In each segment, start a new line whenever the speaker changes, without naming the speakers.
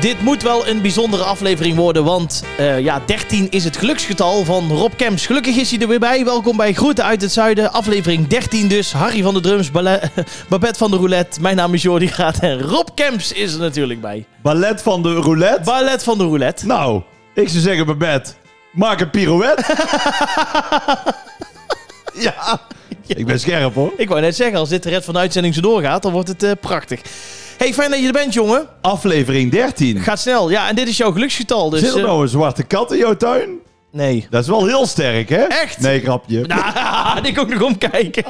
dit moet wel een bijzondere aflevering worden, want eh, ja, 13 is het geluksgetal van Rob Kemps. Gelukkig is hij er weer bij. Welkom bij Groeten uit het Zuiden, aflevering 13 dus. Harry van de Drums, Bale- Babette van de Roulette, mijn naam is Jordi Graat en Rob Kemps is er natuurlijk bij.
Ballet van de roulette?
Ballet van de Roulette.
nou, ik zou zeggen, Babette, maak een pirouette. ja, ik ben scherp hoor.
Ik wou net zeggen, als dit de red van de uitzending zo doorgaat, dan wordt het eh, prachtig. Hey, fijn dat je er bent, jongen.
Aflevering 13.
Gaat snel. Ja, en dit is jouw geluksgetal, dus...
Zit er
eh,
nou een zwarte kat in jouw tuin?
nee.
Dat is wel heel sterk, hè?
Echt?
Nee, grapje.
Nou, had ik ook nog omkijken.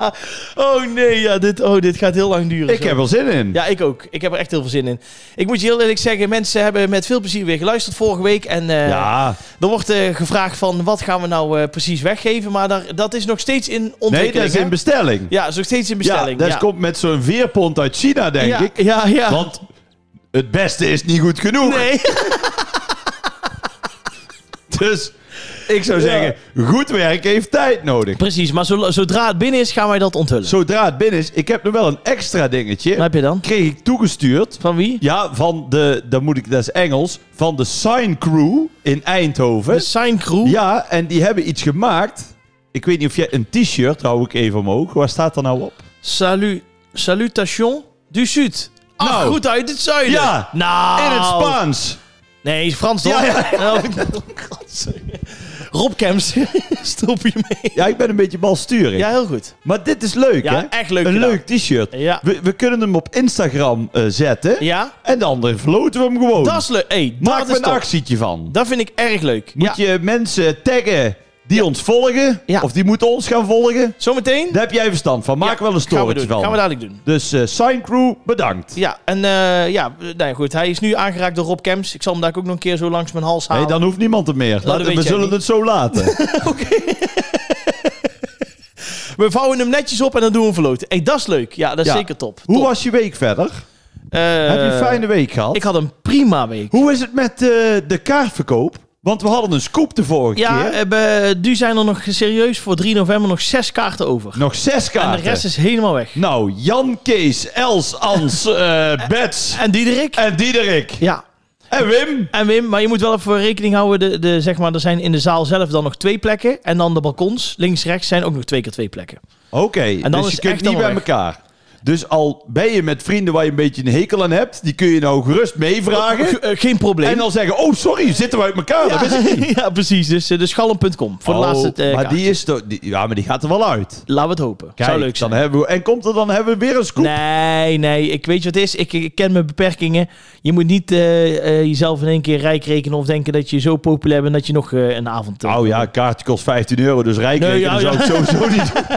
oh nee, ja, dit, oh, dit gaat heel lang duren.
ik
zo.
heb er zin in.
Ja, ik ook. Ik heb er echt heel veel zin in. Ik moet je heel eerlijk zeggen, mensen hebben met veel plezier weer geluisterd vorige week. En eh,
Ja.
er wordt eh, gevraagd van, wat gaan we nou eh, precies weggeven? Maar daar, dat is nog steeds in
Nee,
ontwikkeling.
dat is
hè?
in bestelling.
ja, dat is nog steeds in bestelling.
Ja, dat
ja.
komt met zo'n veerpont uit China, denk
ja,
ik.
Ja, ja.
Want het beste is niet goed genoeg.
Nee.
Dus ik zou
Ja.
zeggen, goed werk heeft tijd nodig.
Precies, maar zo- zodra het binnen is, gaan wij dat onthullen.
Zodra het binnen is, ik heb nog wel een extra dingetje.
Wat heb je dan?
kreeg ik toegestuurd.
Van wie?
Ja, van de, dat moet ik, dat is Engels, van de Sign Crew in Eindhoven.
De Sign Crew.
Ja, en die hebben iets gemaakt. Ik weet niet of jij een t-shirt, hou ik even omhoog. Waar staat er nou op?
Salut, salutation du Sud. Ah,
Nou.
goed uit het zuiden.
Ja.
Nou.
In het Spaans.
Nee, Frans toch?
Ja, ja,
Oh. Rob Kemps, stop je mee.
Ja, ik ben een beetje balsturig.
Ja, heel goed.
Maar dit is leuk,
Ja,
hè?
echt leuk
Een
gedaan.
leuk t-shirt.
Ja.
We, we kunnen hem op Instagram eh, zetten.
Ja?
En dan verloten we hem gewoon.
Dat is leuk. Hey,
Maak
dat is
er een
top.
actietje van.
Dat vind ik erg leuk. ja.
Moet je mensen taggen die ons volgen.
Ja.
Of die moeten ons gaan volgen.
Zometeen?
Daar heb jij verstand van. Maak
Ja,
wel een
gaan we,
storytje
doen.
van.
gaan we dadelijk doen.
Dus eh Sign Crew, bedankt.
Ja, en eh, ja, nee, goed. Hij is nu aangeraakt door Rob Kemps. Ik zal hem daar ook nog een keer zo langs mijn hals halen.
Nee, dan hoeft niemand het meer.
dat
Laat-
weet
we
jij
zullen
niet.
het zo laten.
We vouwen hem netjes op en dan doen we hem verloten. Hey, dat is leuk. Ja, dat is
Ja.
zeker top.
Hoe
Top.
was je week verder?
Eh,
heb je een fijne week gehad?
Ik had een prima week.
Hoe is het met eh, de kaartverkoop? Want we hadden een scoop de vorige
Ja,
keer.
eh, be- nu zijn er nog serieus voor 3 november nog zes kaarten over.
Nog zes kaarten.
En de rest is helemaal weg.
Nou, Jan, Kees, Els, Ans, eh, Bets
En Diederik?
en Diederik.
Ja.
En Wim.
En Wim, maar je moet wel even rekening houden. De, de, zeg maar, er zijn in de zaal zelf dan nog twee plekken. En dan de balkons, links, rechts, zijn ook nog twee keer twee plekken.
Oké,
dan
dus
is
je
het
kunt
echt
niet
al weg.
bij elkaar. Dus al ben je met vrienden waar je een beetje een hekel aan hebt, die kun je nou gerust meevragen.
Ge- eh, geen probleem.
En dan zeggen, oh sorry, zitten we uit elkaar. Dat wist ik niet.
ja, precies. Dus eh, de schalm.com voor de
Oh,
laatste eh,
maar
kaart.
die is toch, die- ja, maar die gaat er wel uit.
Laten we het hopen. Zou leuk zijn.
Dan hebben we, en komt er dan hebben we weer een scoop.
Nee, nee. Ik weet je wat het is. Ik, ik ken mijn beperkingen. Je moet niet eh, eh, jezelf in één keer rijk rekenen of denken dat je zo populair bent dat je nog eh, een avond... eh,
Oh ja, een kaartje kost 15 euro, dus rijk
Nee,
nee,
ja,
zou
ja.
ik sowieso niet doen.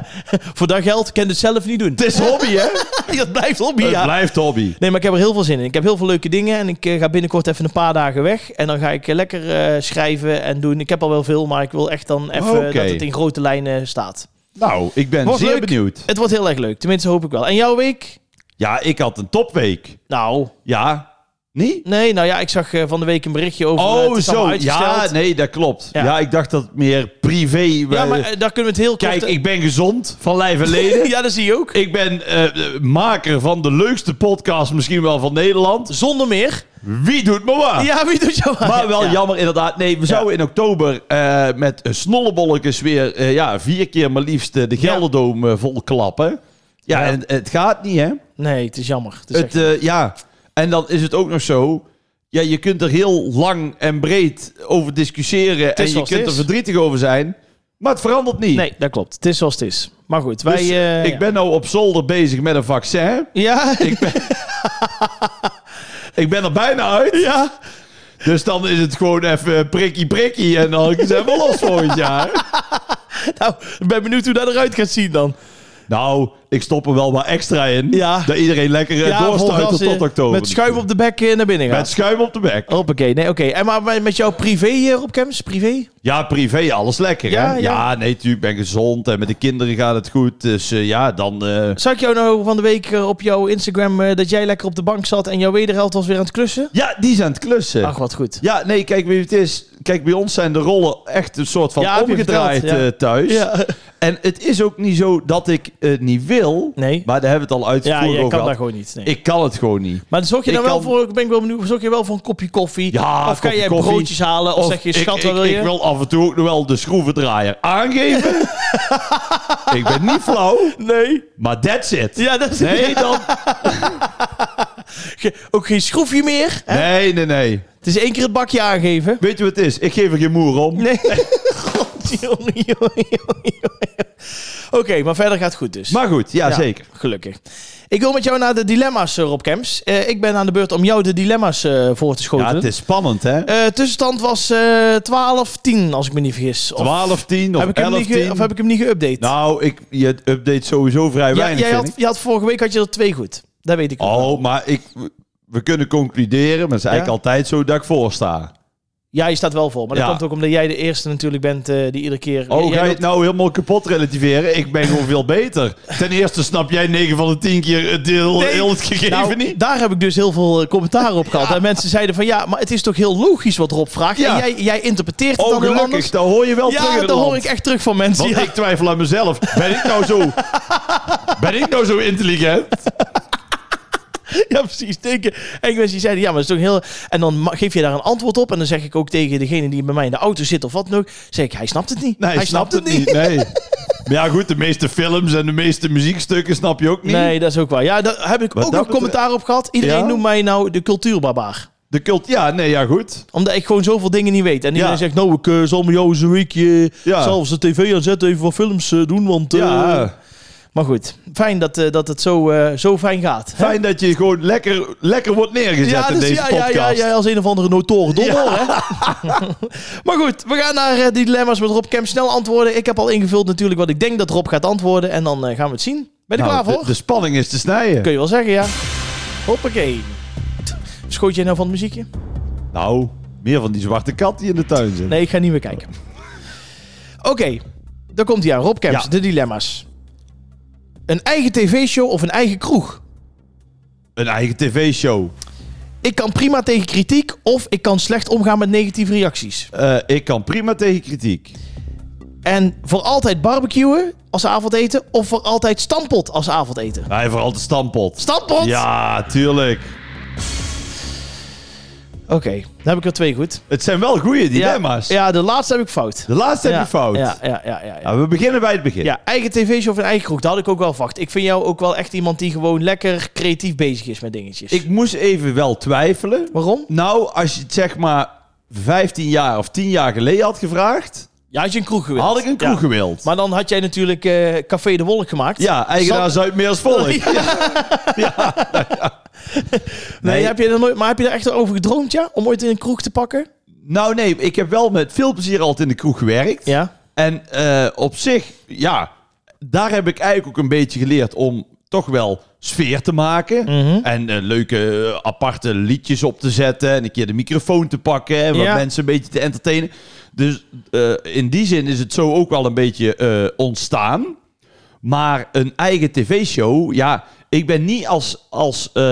Voor dat geld kan je het zelf niet doen.
Het is hobby, hè?
Dat blijft hobby,
Het
ja.
blijft hobby.
Nee, maar ik heb er heel veel zin in. Ik heb heel veel leuke dingen en ik eh, ga binnenkort even een paar dagen weg. En dan ga ik eh, lekker eh, schrijven en doen. Ik heb al wel veel, maar ik wil echt dan even
Oké.
dat het in grote lijnen staat.
Nou, ik ben
Wordt
zeer
leuk.
benieuwd.
Het wordt heel erg leuk, tenminste hoop ik wel. En jouw week?
Ja, ik had een topweek.
Nou,
Ja, niet?
nee, nou ja, ik zag eh, van de week een berichtje over eh, het
Oh,
is allemaal
zo.
uitgesteld.
Ja, nee, dat klopt.
Ja.
Ja, ik dacht dat het meer privé...
Ja, maar eh, daar kunnen we het heel kort...
Kijk, ik ben gezond, van lijf en leden.
ja, dat zie je ook.
Ik ben eh, eh, maker van de leukste podcast misschien wel van Nederland.
Zonder meer.
Wie doet me waar?
Ja, wie doet jou aan?
Ah. Maar wel
Ja.
jammer inderdaad. Nee, we zouden in oktober eh, met snollebolletjes weer eh, ja, vier keer maar liefst eh, de Gelderdoom eh, vol klappen. Ja,
Ja.
En, het gaat niet hè.
Nee, het is jammer. Het is
Het,
echt-
eh, ja, en dan is het ook nog zo. Ja, je kunt er heel lang en breed over discussiëren en je
zoals
kunt
het
er
is.
verdrietig over zijn. Maar het verandert niet.
Nee, dat klopt. Het is zoals het is. Maar goed, wij...
Dus
eh,
ik
ja.
ben nou op zolder bezig met een vaccin.
Ja,
Ik ben er bijna uit.
ja.
Dus dan is het gewoon even prikkie prikkie en dan zijn we los volgend jaar.
Nou, ik ben benieuwd hoe dat eruit gaat zien dan.
Nou, ik stop er wel wat extra in.
Ja.
Dat iedereen lekker eh,
vol
doorstuit
gas,
tot,
eh,
tot oktober.
Met schuim op de bek eh, naar binnen gaan.
Met schuim op de bek.
Hoppakee, nee, oké. En maar met- met jouw privé, eh, Rob Kemps? Privé?
Ja, privé, alles lekker.
Ja,
hè?
ja.
Ja. nee, natuurlijk. Ik ben gezond en met de kinderen gaat het goed. Dus eh, ja, dan. eh,
Zag ik jou nou van de week eh, op jouw Instagram eh, dat jij lekker op de bank zat en jouw wederhelft was weer aan het klussen?
Ja, die zijn aan het klussen.
Ach, wat goed.
Ja, nee, kijk wie het is. Kijk, bij ons zijn de rollen echt een soort van
Ja, heb je
omgedraaid
verteld, ja.
eh, thuis.
Ja.
En het is ook niet zo dat ik het niet wil. wil,
Nee.
maar daar hebben we het al
Ja,
uitgevoerd
je
over
kan
gehad.
daar gewoon niet. Nee.
Ik kan het gewoon niet.
maar zorg je dan
ik
wel
kan-
voor, ik ben wel benieuwd, zorg je wel voor een kopje koffie?
Ja,
of kan
kopje
jij
koffie.
broodjes halen? Of, zeg je,
ik-
schat,
ik,
wat wil
ik,
je?
wil af en toe ook nog wel de schroevendraaier aangeven. ik ben niet flauw,
Nee.
maar that's it.
Ja, dat is
Nee, dan,
Ge- ook geen schroefje meer. hè?
nee, nee, nee.
Het is één keer het bakje aangeven.
Weet je wat het is? Ik geef er geen moer om.
Nee. God, jongen, jongen, jongen, jongen. Oké, maar verder gaat het goed dus.
Maar goed, ja, zeker.
Gelukkig. Ik wil met jou naar de dilemma's, eh, Rob Kemps. Eh, ik ben aan de beurt om jou de dilemma's eh, voor te
Ja,
schoten.
het is spannend, hè?
Eh, tussenstand was eh 12-10, als ik me niet vergis. Of
12, 10 of
heb ik hem
11,
niet ge-
10.
Of heb ik hem niet geüpdate?
Nou, ik, je update sowieso vrij
Ja,
weinig,
jij
vind
had, je had vorige week had je er twee goed. Dat weet ik
ik.
nog wel.
Oh, maar ik, we kunnen concluderen, maar het is eigenlijk altijd zo dat ik voor sta.
Ja, je staat wel vol. Maar dat
Ja.
komt ook omdat jij de eerste natuurlijk bent eh, die iedere keer...
Oh,
jij
ga je
wilt-
het nou helemaal kapot relativeren? Ik ben gewoon veel beter. Ten eerste snap jij 9 van de 10 keer het deel,
Nee.
heel het gegeven
Nou,
niet.
Daar heb ik dus heel veel eh, commentaar op gehad. En mensen zeiden van ja, maar het is toch heel logisch wat Rob vraagt.
Ja.
En jij, jij interpreteert het
Oh,
dan heel
gelukkig.
anders.
Dat hoor je wel terug in
Ja,
het
dat hoor
land.
ik echt terug van mensen.
Want
ja.
ik twijfel aan mezelf. Ben ik nou zo... ben ik nou zo intelligent?
Ja, precies. Tegen Engels die zeiden, ja, maar dat is toch heel... En dan ma- geef je daar een antwoord op. En dan zeg ik ook tegen degene die bij mij in de auto zit of wat dan ook... zeg ik, hij snapt het niet.
Nee,
hij
snapt het niet. Nee. Maar ja, goed, de meeste films en de meeste muziekstukken snap je ook niet.
Nee, dat is ook waar. Ja, daar heb ik
Wat
ook
dat
nog commentaar op gehad. Iedereen
Ja?
noemt mij nou de cultuurbarbaar.
De cult... Ja, nee, ja, goed.
Omdat ik gewoon zoveel dingen niet weet. En iedereen
Ja.
zegt, nou, ik eh, zal me jou eens een weekje...
Ja.
zelfs de tv aanzetten, even wat films eh, doen, want... eh,
Ja,
Maar goed, fijn dat, eh, dat het zo, eh, zo fijn gaat. hè?
fijn dat je gewoon lekker, lekker wordt neergezet
Ja,
in
dus
deze
ja, ja,
podcast.
ja, ja, als een of andere notoren dommel, hè? maar goed, we gaan naar eh, die dilemma's met Rob Kemp snel antwoorden. Ik heb al ingevuld natuurlijk wat ik denk dat Rob gaat antwoorden. En dan eh, gaan we het zien. Ben je er
Nou,
klaar voor?
De, de spanning is te snijden.
Kun je wel zeggen, ja. Hoppakee. Schoot jij nou van het muziekje?
Nou, meer van die zwarte kat die in de tuin zit.
Nee, ik ga niet meer kijken. Oké, daar komt hij aan. Rob Kemps,
Ja.
de dilemma's. Een eigen tv-show of een eigen kroeg?
Een eigen tv-show.
Ik kan prima tegen kritiek of ik kan slecht omgaan met negatieve reacties.
Eh, ik kan prima tegen kritiek.
En voor altijd barbecuen als avondeten of voor altijd stampot als avondeten?
Hij vooral de stampot.
Stampot?
Ja, tuurlijk.
Oké, dan heb ik er twee goed.
Het zijn wel goede dilemma's.
Ja, ja, de laatste heb ik fout.
De laatste
ja,
heb je fout.
Ja, ja, ja. ja, ja.
Nou, we beginnen bij het begin.
Ja, eigen tv-show of een eigen kroeg, dat had ik ook wel verwacht. Ik vind jou ook wel echt iemand die gewoon lekker creatief bezig is met dingetjes.
Ik moest even wel twijfelen.
Waarom?
Nou, als je het zeg maar 15 jaar of 10 jaar geleden had gevraagd,
Ja, had je een kroeg gewild.
had ik een kroeg
Ja.
gewild.
Maar dan had jij natuurlijk eh, Café de Wolk gemaakt.
Ja, eigenaar Zuid-Meers Volk.
Ja. Nee,
Nee.
Heb je er nooit, maar heb je er echt over gedroomd, ja? Om ooit in een kroeg te pakken?
Nou nee, ik heb wel met veel plezier altijd in de kroeg gewerkt.
Ja.
En eh, op zich, ja, daar heb ik eigenlijk ook een beetje geleerd om toch wel sfeer te maken.
Mhm.
En eh, leuke eh, aparte liedjes op te zetten. En een keer de microfoon te pakken. En wat
Ja.
mensen een beetje te entertainen. Dus eh, in die zin is het zo ook wel een beetje eh, ontstaan. Maar een eigen tv-show, ja, ik ben niet als, als eh,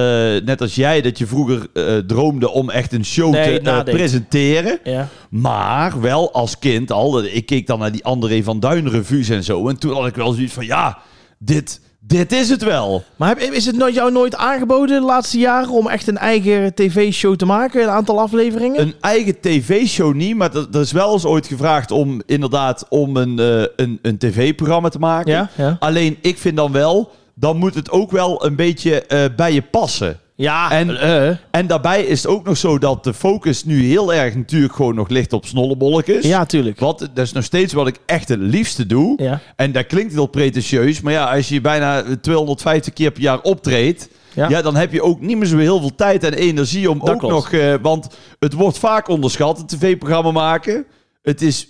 net als jij, dat je vroeger eh, droomde om echt een show
Nee,
te eh,
nadenken.
presenteren.
Ja.
Maar wel als kind al. Ik keek dan naar die André van Duin revues en zo. En toen had ik wel zoiets van, ja, dit, dit is het wel.
Maar heb- is het nou jou nooit aangeboden de laatste jaren om echt een eigen tv-show te maken? Een aantal afleveringen?
Een eigen tv-show niet, maar dat- er is wel eens ooit gevraagd om inderdaad om een, eh, een, een tv-programma te maken.
Ja, ja.
Alleen ik vind dan wel, dan moet het ook wel een beetje eh, bij je passen.
ja.
en-
eh, eh.
En daarbij is het ook nog zo dat de focus nu heel erg natuurlijk gewoon nog ligt op snollebolletjes.
ja, tuurlijk.
Wat, dat is nog steeds wat ik echt het liefste doe.
Ja.
En dat klinkt heel pretentieus. Maar ja, als je bijna 250 keer per jaar optreedt...
Ja.
Ja. dan heb je ook niet meer zo heel veel tijd en energie om
Dat
ook
klopt.
nog... eh, want het wordt vaak onderschat, een tv-programma maken. Het is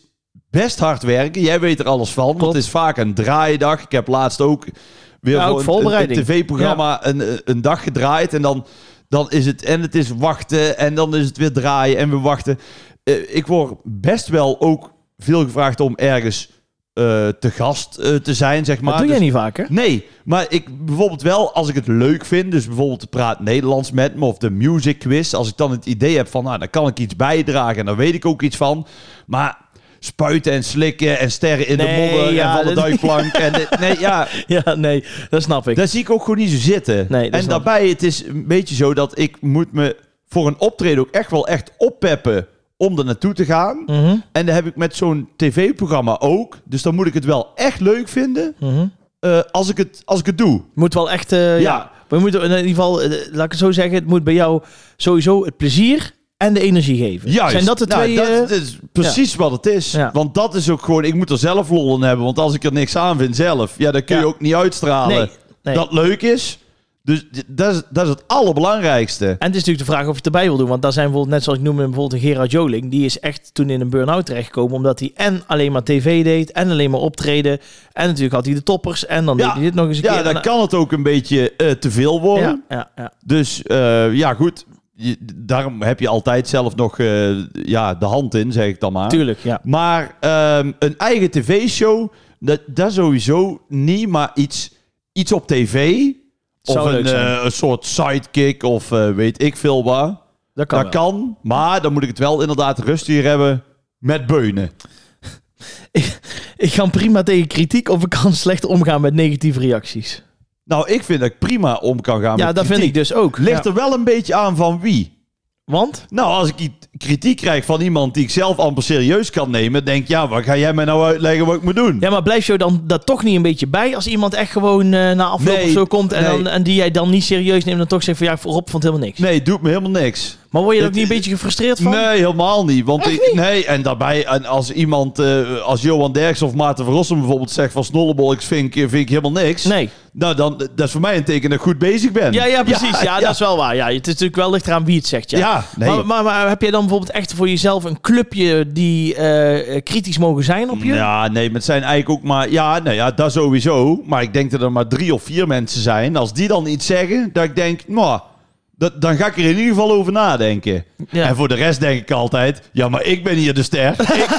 best hard werken. Jij weet er alles van, want
Klopt.
het is vaak een draaidag. Ik heb laatst ook weer
Ja, ook
gewoon een-
voorbereiding.
een, tv-programma een, een dag gedraaid. En dan, dan is het... En het is wachten en dan is het weer draaien en we wachten. Eh, ik word best wel ook veel gevraagd om ergens eh, te gast eh, te zijn, zeg maar.
dat doe
Dus-
jij niet vaker?
Nee, maar ik bijvoorbeeld wel als ik het leuk vind, dus bijvoorbeeld praat Nederlands met me of de music quiz, als ik dan het idee heb van, nou, daar kan ik iets bijdragen en daar weet ik ook iets van. Maar spuiten en slikken en sterren in
Nee,
de modder
ja,
en van de
dat-
duikplank. en dit- nee, ja,
Ja, nee, dat snap ik.
daar zie ik ook gewoon niet zo zitten.
Nee, dat
en
snap ik.
daarbij, het is een beetje zo dat ik moet me voor een optreden ook echt wel echt oppeppen om er naartoe te gaan.
Mhm,
En dat heb ik met zo'n tv-programma ook. Dus dan moet ik het wel echt leuk vinden
mhm.
eh, als, ik het, als ik het doe.
Moet wel echt... eh, ja.
Ja.
We moeten in ieder geval, eh, laat ik het zo zeggen, het moet bij jou sowieso het plezier en de energie geven.
Juist.
Zijn dat de
Nou,
twee...
dat
eh,
is precies wat het is.
Ja.
Want dat is ook gewoon... Ik moet er zelf lol in hebben. Want als ik er niks aan vind zelf... Ja, dan kun je
Ja.
ook niet uitstralen
nee, nee.
dat leuk is. Dus d- dat is, dat is het allerbelangrijkste.
En het is natuurlijk de vraag of je het erbij wil doen. Want daar zijn bijvoorbeeld, net zoals ik noemde, bijvoorbeeld een Gerard Joling. Die is echt toen in een burn-out terechtgekomen. Omdat hij en alleen maar tv deed. En alleen maar optreden. En natuurlijk had hij de toppers. En dan
Ja.
deed hij dit nog eens een
Ja,
keer.
dan
En-
kan het ook een beetje eh, te veel worden.
ja, ja, ja.
Dus eh, ja, goed. Je- daarom heb je altijd zelf nog eh, ja, de hand in, zeg ik dan maar.
Tuurlijk, ja.
Maar ehm, een eigen tv-show, dat, dat sowieso niet, maar iets, iets op tv.
Zou
of een,
leuk zijn.
eh, een soort sidekick of eh, weet ik veel wat.
Dat kan,
dat
wel.
kan, maar dan moet ik het wel inderdaad rustig hier hebben met beunen.
Ik kan prima tegen kritiek of ik kan slecht omgaan met negatieve reacties.
Nou, ik vind dat ik prima om kan gaan
ja,
met
dat vind ik
kritiek.
dus ook.
Ligt
Ja.
er wel een beetje aan van wie.
Want?
Nou, als ik i- kritiek krijg van iemand die ik zelf amper serieus kan nemen, denk ik, ja, wat ga jij mij nou uitleggen wat ik moet doen?
Ja, maar blijf je dan dat toch niet een beetje bij als iemand echt gewoon eh, na afloop
Nee,
of zo komt en,
nee.
dan, en die jij dan niet serieus neemt en toch zegt van ja, Rob vond helemaal niks.
Nee, doet me helemaal niks.
Maar word je er ook
Het-
niet een beetje gefrustreerd van?
Nee, helemaal niet. Want ik, nee, en daarbij, en als iemand, eh, als Johan Derks of Maarten Verrossum bijvoorbeeld zegt van snollebol, ik vind, ik- vind ik helemaal niks.
Nee.
Nou, dan, dat is voor mij een teken dat ik goed bezig ben.
Ja, ja, precies. Ja, dat is wel waar. Ja, het is natuurlijk wel licht eraan wie het zegt. Ja.
Ja, nee.
maar, maar, maar heb jij dan bijvoorbeeld echt voor jezelf een clubje die eh, kritisch mogen zijn op je?
Ja, nee, maar het zijn eigenlijk ook maar... Ja, nou ja, dat sowieso. Maar ik denk dat er maar drie of vier mensen zijn. Als die dan iets zeggen, dat ik denk... Nou, dat, dan ga ik er in ieder geval over nadenken.
Ja.
En voor de rest denk ik altijd... Ja, maar ik ben hier de ster. ik,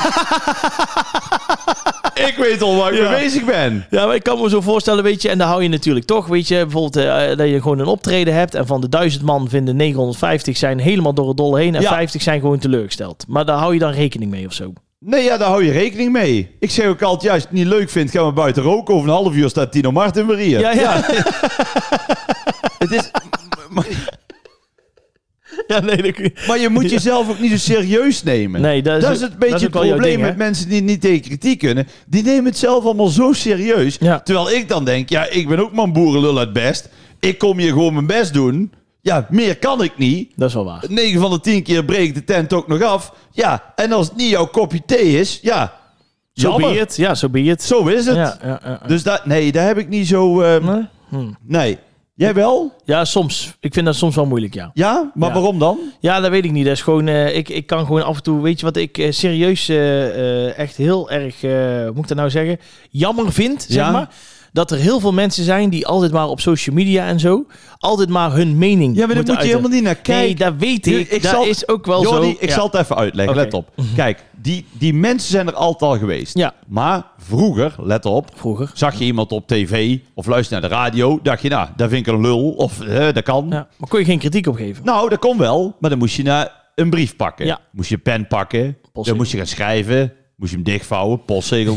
ik weet al waar ik
Ja.
mee bezig ben.
Ja, maar ik kan me zo voorstellen, weet je, en daar hou je natuurlijk toch, weet je, bijvoorbeeld eh, dat je gewoon een optreden hebt en van de duizend man vinden 950 zijn helemaal door het dolle heen en
Ja.
50 zijn gewoon teleurgesteld. Maar daar hou je dan rekening mee of zo.
Nee, ja, daar hou je rekening mee. Ik zeg ook altijd, ja, als je het niet leuk vindt, gaan we buiten roken. Over een half uur staat Tino Martin weer hier.
Ja, ja.
Het is, maar,
ja nee, dat kun je-
maar je moet jezelf ook niet zo serieus nemen.
Nee, dat is-
dat is het beetje
dat is ook
het
wel jouw
probleem
ding, hè?
met mensen die niet tegen kritiek kunnen. Die nemen het zelf allemaal zo serieus.
Ja.
Terwijl ik dan denk, ja, ik ben ook maar een boerenlul uit best. Ik kom hier gewoon mijn best doen. Ja, meer kan ik niet.
dat is wel waar.
9 van de 10 keer breekt de tent ook nog af. Ja, en als het niet jouw kopje thee is, ja,
Zo
jammer.
be it. Ja, zo be it.
Zo is het.
Ja, ja, ja.
Dus dat, nee, daar heb ik niet zo. ehm,
Nee? Hm.
Nee. Jij wel?
ja, soms. Ik vind dat soms wel moeilijk, ja.
Ja? Maar
Ja.
waarom dan?
Ja, dat weet ik niet. Dat is gewoon, eh, ik, ik kan gewoon af en toe, weet je wat ik eh, serieus eh, eh, echt heel erg, eh, hoe moet ik dat nou zeggen, jammer vind, zeg
Ja.
maar. Dat er heel veel mensen zijn die altijd maar op social media en zo, altijd maar hun mening
Ja, maar
moeten
daar moet je
uiten.
helemaal niet naar
Nee,
kijken.
dat weet ik.
Ik
dat
zal-
is ook wel
Jordi,
zo.
ik
ja.
zal het even uitleggen.
Oké. Mhm.
Let op. Kijk, die, die mensen zijn er altijd al geweest.
Ja.
Maar vroeger, let op,
Vroeger.
zag je iemand op tv of luisterde naar de radio, dacht je, nou, daar vind ik een lul of eh, dat kan.
Ja. Maar kon je geen kritiek op geven?
Nou, dat kon wel, maar dan moest je naar een brief pakken.
Ja.
Moest je een pen pakken,
Postzegel.
dan moest je gaan schrijven, moest je hem dichtvouwen, postzegel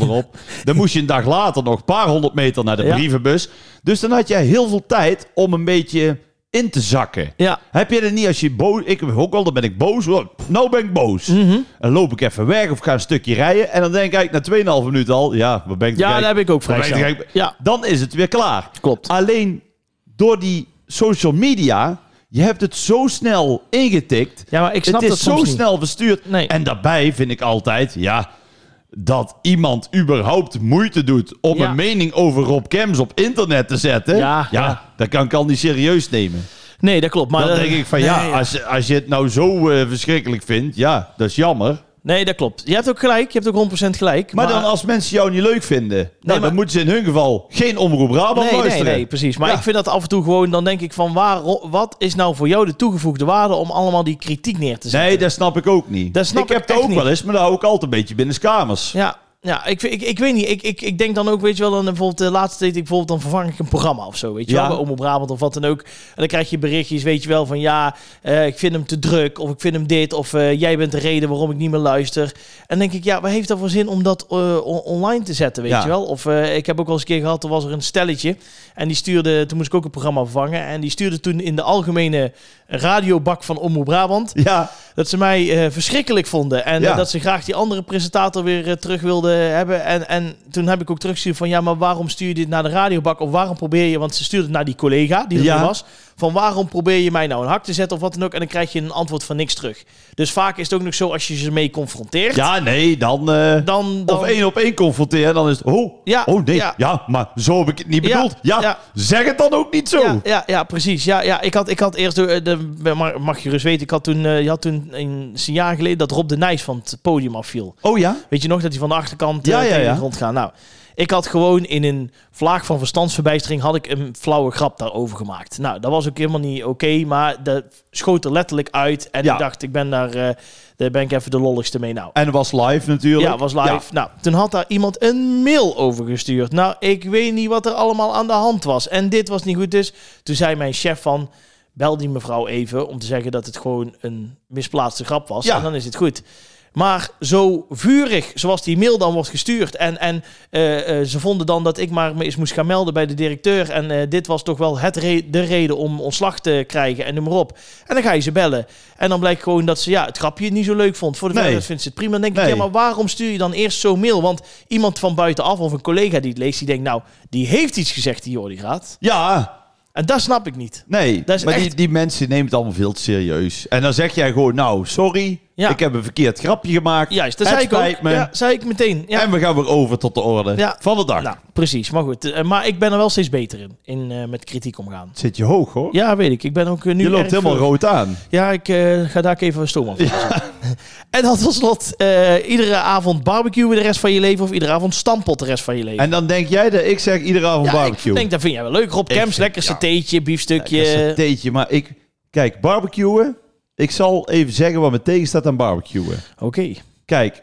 erop. dan moest je een dag later nog een paar honderd meter naar de
Ja.
brievenbus. Dus dan had jij heel veel tijd om een beetje in te zakken.
Ja.
Heb je dat niet als je boos... Ik heb ook al, dan ben ik boos. hoor. Pff, Nou ben ik boos.
Mhm.
En loop ik even weg of ga een stukje rijden. En dan denk ik eigenlijk na 2,5 minuten al... Ja, wat ben ik te
Ja,
gek?
dat heb ik ook
Wat
vrij
ben ik te
snel.
gek?
Ja,
Dan is het weer klaar.
klopt.
Alleen door die social media, je hebt het zo snel ingetikt.
Ja, maar ik snap
het
dat
is zo
soms niet.
snel verstuurd.
Nee.
En daarbij vind ik altijd, ja, dat iemand überhaupt moeite doet om
Ja.
een mening over Rob Kems op internet te zetten.
Ja, ja.
dat kan ik al niet serieus nemen.
Nee, dat klopt. Maar
Dan
dat-
denk ik van,
nee,
ja, als, als je het nou zo eh, verschrikkelijk vindt, ja, dat is jammer.
Nee, dat klopt. Je hebt ook gelijk. Je hebt ook 100% gelijk.
Maar, dan als mensen jou niet leuk vinden, nou,
maar-
dan moeten ze in hun geval geen Omroep Brabant
nee, nee,
luisteren.
nee, precies. Maar
Ja.
ik vind dat af en toe gewoon, dan denk ik van waar, wat is nou voor jou de toegevoegde waarde om allemaal die kritiek neer te zetten?
Nee, dat snap ik ook niet.
Dat snap
ik heb
ik
het
echt
ook
niet.
wel eens, maar daar hou ik altijd een beetje binnen kamers.
Ja, Ja, ik, ik, ik weet niet. Ik, ik, ik denk dan ook, weet je wel, dan bijvoorbeeld de laatste deed ik bijvoorbeeld, dan vervang ik een programma of zo, weet je
Ja.
wel, bij Omroep Brabant of wat dan ook. En dan krijg je berichtjes, weet je wel, van ja, eh, ik vind hem te druk, of ik vind hem dit, of eh, jij bent de reden waarom ik niet meer luister. En dan denk ik, ja, wat heeft dat voor zin om dat eh, on- online te zetten, weet
Ja.
je wel? Of eh, ik heb ook wel eens een keer gehad, toen was er een stelletje en die stuurde, toen moest ik ook een programma vervangen, en die stuurde toen in de algemene radiobak van Omroep Brabant,
Ja,
dat ze mij eh, verschrikkelijk vonden. En
Ja.
eh, dat ze graag die andere presentator weer eh, terug wilden hebben. En, en toen heb ik ook teruggestuurd van... ja, maar waarom stuur je dit naar de radiobak? Of waarom probeer je... want ze stuurde het naar die collega die er
Ja.
nu was... van waarom probeer je mij nou een hak te zetten of wat dan ook... en dan krijg je een antwoord van niks terug. Dus vaak is het ook nog zo als je ze mee confronteert...
ja nee, dan... eh,
dan, dan...
Of één op één confronteren, dan is het... Oh,
Ja,
oh nee,
ja.
ja. maar zo heb ik het niet
Ja,
bedoeld. Ja,
ja.
zeg het dan ook niet zo.
Ja, ja, ja, precies. Ja, ja, ik, had, ik had eerst, eh, de, maar mag je rust weten, ik had toen, eh, je had toen een, een jaar geleden dat Rob de Nijs van het podium afviel.
Oh ja?
Weet je nog dat hij van de achterkant eh,
Ja, ja,
tegen
ja.
de grond gaat? Nou, ik had gewoon in een vlaag van verstandsverbijstering had ik een flauwe grap daarover gemaakt. Nou, dat was ook helemaal niet oké, maar dat schoot er letterlijk uit. En
Ja.
ik dacht, ik ben daar, eh, daar ben ik even de lolligste mee nou.
En het was live natuurlijk.
Ja, was live. Nou, toen had daar iemand een mail over gestuurd. Nou, ik weet niet wat er allemaal aan de hand was. En dit was niet goed. Dus toen zei mijn chef van... Bel die mevrouw even om te zeggen dat het gewoon een misplaatste grap was.
Ja.
En dan is het goed. Maar zo vurig zoals die mail dan wordt gestuurd. En, en eh, eh, ze vonden dan dat ik maar me eens moest gaan melden bij de directeur. En eh, dit was toch wel het re- de reden om ontslag te krijgen en noem maar op. En dan ga je ze bellen. En dan blijkt gewoon dat ze ja, het grapje niet zo leuk vond. Voor de
Nee.
verder vindt ze het prima. Dan denk ik,
Nee.
ja, maar waarom stuur je dan eerst zo'n mail? Want iemand van buitenaf of een collega die het leest, die denkt, nou, die heeft iets gezegd, die Jordi Graat.
Ja,
En dat snap ik niet.
nee.
Dat is
maar die,
echt-
die mensen nemen het allemaal veel te serieus. En dan zeg jij gewoon, nou, sorry.
Ja.
Ik heb een verkeerd grapje gemaakt.
Juist, dat
het
zei ik
spijt
ook.
me.
Ja, zei ik meteen. Ja.
En we gaan weer over tot de orde
Ja.
van de dag.
Nou, precies. Maar goed. eh, maar ik ben er wel steeds beter in, in eh, met kritiek omgaan.
Zit je hoog, hoor.
Ja, weet ik. Ik ben ook eh, nu
je loopt
erg
helemaal
vlug.
rood aan.
Ja, ik eh, ga daar even stoom af. En dan tot slot, eh, iedere avond barbecue de rest van je leven... of iedere avond stampot de rest van je leven.
En dan denk jij dat ik zeg iedere avond
ja,
barbecue.
ik denk, dat vind jij wel leuk. Rob
Ik
Kemps,
vind-
lekker
ja.
satéetje, biefstukje.
Dat is een teetje, maar ik... Kijk, barbecuen... Ik zal even zeggen wat me tegen staat aan barbecuen.
Oké.
Kijk,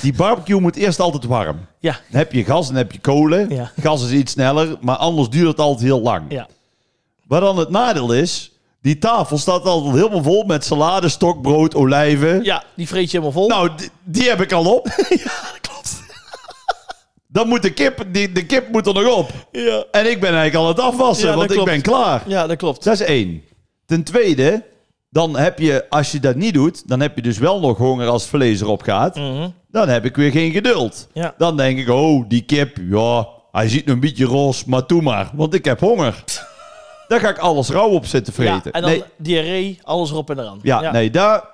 die barbecue moet eerst altijd warm.
Ja,
Dan heb je gas en heb je kolen.
Ja.
Gas is iets sneller, maar anders duurt het altijd heel lang.
ja.
Waar dan het nadeel is, die tafel staat altijd helemaal vol met salade, stokbrood, olijven.
Ja, die vreet je helemaal vol.
Nou, die, die heb ik al op. ja, klopt. Dan moet de kip, die, de kip moet er nog op.
ja.
En ik ben eigenlijk al aan het afwassen,
Ja, dat
want
klopt.
ik ben klaar.
ja, dat klopt.
Dat is één. Ten tweede, dan heb je, als je dat niet doet, dan heb je dus wel nog honger als het vlees erop gaat.
Mhm.
Dan heb ik weer geen geduld.
Ja.
Dan denk ik, oh, die kip, ja, hij ziet nog een beetje roze, maar doe maar, want ik heb honger. Daar ga ik alles rauw op zitten
ja,
vreten.
en dan
nee,
diarree, alles erop en eraan.
ja, nee, daar...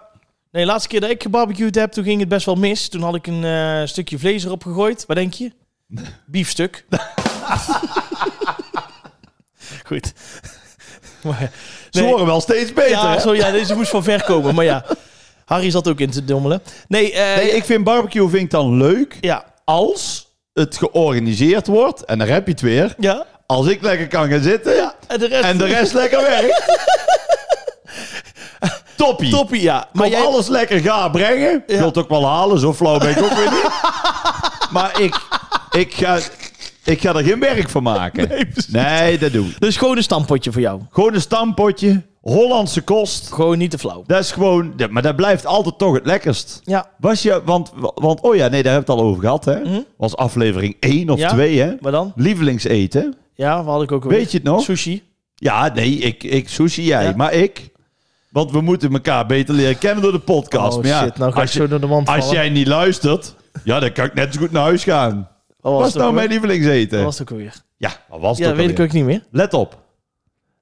Nee, de laatste keer dat ik gebarbecued heb, toen ging het best wel mis. Toen had ik een eh, stukje vlees erop gegooid. Wat denk je? Biefstuk. Goed. maar, eh,
Ze
nee.
worden wel steeds beter.
ja,
hè?
zo, ja, deze moest van ver komen. Maar ja, Harry zat ook in te dommelen. Nee, eh,
Nee, ik vind barbecue vind ik dan leuk
ja.
als het georganiseerd wordt. En daar heb je het weer.
Ja.
Als ik lekker kan gaan zitten
En de rest...
en de rest lekker werkt. Toppie.
Toppie, ja.
Maar
Maar jij...
alles lekker ga brengen. Ik wil het ook wel halen, zo flauw ben ik ook weer niet. Maar ik, ik, ga, ik ga er geen werk van maken. Nee, dat doe ik.
Dus gewoon een stampotje voor jou.
Gewoon een stampotje, Hollandse kost.
Gewoon niet te flauw.
Dat is gewoon, ja, maar dat blijft altijd toch het lekkerst.
Ja.
Was je, want, want oh ja, nee, daar hebben we het al over gehad, hè? Was aflevering 1 of
Mhm. Ja?
2, hè?
Maar dan?
Lievelingseten.
Ja, wat had ik ook alweer?
Weet je het nog?
Sushi.
Ja, nee, ik, ik sushi, jij,
Ja.
maar ik. Want we moeten elkaar beter leren kennen door de podcast.
Oh
maar ja,
shit, nou ga ik
als,
zo
je,
door de mand
als
vallen.
jij niet luistert, ja, dan kan ik net zo goed naar huis gaan.
Wat
Was
het ook
nou mijn
weer?
lievelingseten?
Wat was het ook weer?
Ja, wat was
Ja,
het
dat
ook
weet ik
alweer?
ook niet meer.
Let op.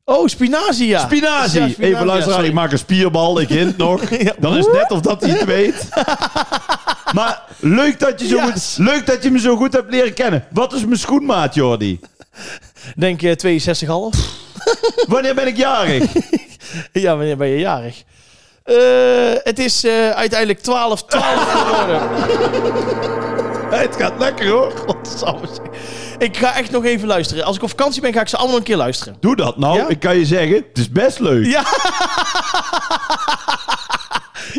Oh, spinazie, ja.
Spinazie.
Ja, spinazie,
Even luisteren,
ja,
ik maak een spierbal, ik hint nog.
Ja.
Dan is het net of dat hij het weet. Maar leuk dat, je zo
Yes.
goed, leuk dat je me zo goed hebt leren kennen. Wat is mijn schoenmaat, Jordi?
Denk eh, je 62,5?
Wanneer ben ik jarig?
ja, wanneer ben je jarig? Eh, het is eh, uiteindelijk 12, 12 geworden.
het gaat lekker hoor.
Godsamme, zeg. ik ga echt nog even luisteren. Als ik op vakantie ben, ga ik ze allemaal een keer luisteren.
Doe dat nou,
Ja?
ik kan je zeggen, het is best leuk.
Ja.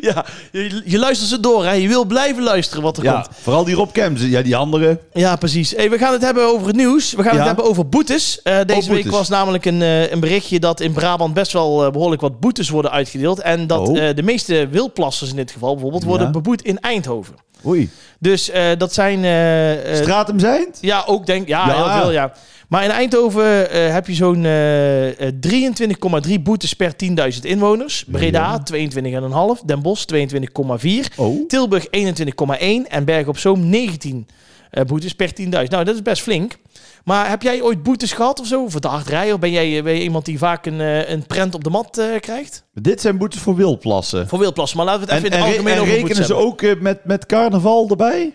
ja, je, je luistert ze door, hè. Je wil blijven luisteren wat er komt.
Ja, vooral die Rob Kemps. Ja, die andere.
Ja, precies. Hey, we gaan het hebben over het nieuws. We gaan
Ja.
het hebben over boetes. Eh, deze
boetes.
week was namelijk een, eh, een berichtje dat in Brabant best wel eh, behoorlijk wat boetes worden uitgedeeld. En dat
Oh.
eh, de meeste wilplassers in dit geval bijvoorbeeld worden
Ja.
beboet in Eindhoven.
Oei.
Dus eh, dat zijn... eh, eh,
Straat hem zijn?
ja, ook denk Ja,
Ja.
heel veel, ja. Maar in Eindhoven eh, heb je zo'n eh, eh, 23,3 boetes per 10.000 inwoners. Breda 22,5. Den Bosch 22,4.
Oh.
Tilburg 21,1 en Bergen op Zoom 19 eh, boetes per 10.000. Nou, dat is best flink. Maar heb jij ooit boetes gehad of zo? Voor de hard rijden? Of ben jij, eh, ben je iemand die vaak een, eh, een prent op de mat eh, krijgt?
Dit zijn boetes voor wilplassen.
Voor wilplassen. Maar laten we het
En,
even
en,
in het algemeen
en
over boetes
rekenen ze
hebben.
ook eh, met, met carnaval erbij?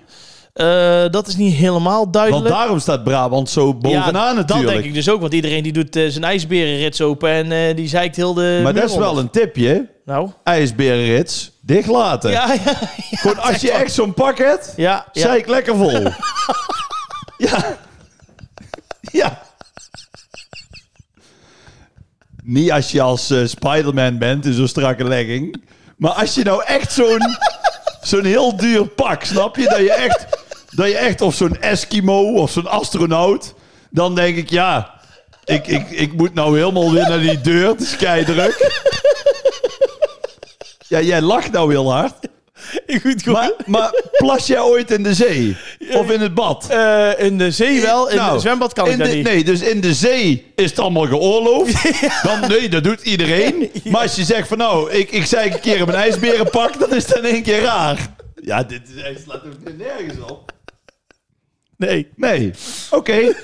Eh, dat is niet helemaal
Want
duidelijk.
daarom staat Brabant zo bovenaan
Dat
natuurlijk.
denk ik dus ook. Want iedereen die doet eh, zijn ijsberenrits open en eh, die zeikt heel de
maar
muur
dat is wel
onder.
een tipje.
Nou,
IJsberenrits, dicht laten.
ja, ja,
Gewoon als je echt zo'n pak hebt,
ja, ja.
zeik lekker vol. ja. Ja. Niet als je als eh, Spider-Man bent in zo'n strakke legging. Maar als je nou echt zo'n zo'n heel duur pak, snap je? Dat je echt, dat je echt of zo'n Eskimo of zo'n astronaut. Dan denk ik, ja, ik, ik, ik moet nou helemaal weer naar die deur. Het is keidruk. Ja, jij lacht nou heel hard.
Goed, goed.
Maar, maar plas jij ooit in de zee? Of in het bad?
Eh, in de zee wel. In
Nou,
het zwembad kan
in
ik dat
de-
niet.
Nee, dus in de zee is het allemaal geoorloofd. Dan, nee, dat doet iedereen. Maar als je zegt van nou, ik, ik zei een keer in mijn ijsberenpak, dat is dan één keer raar. Ja, dit is echt, slaat ook nergens op.
nee.
Nee, oké.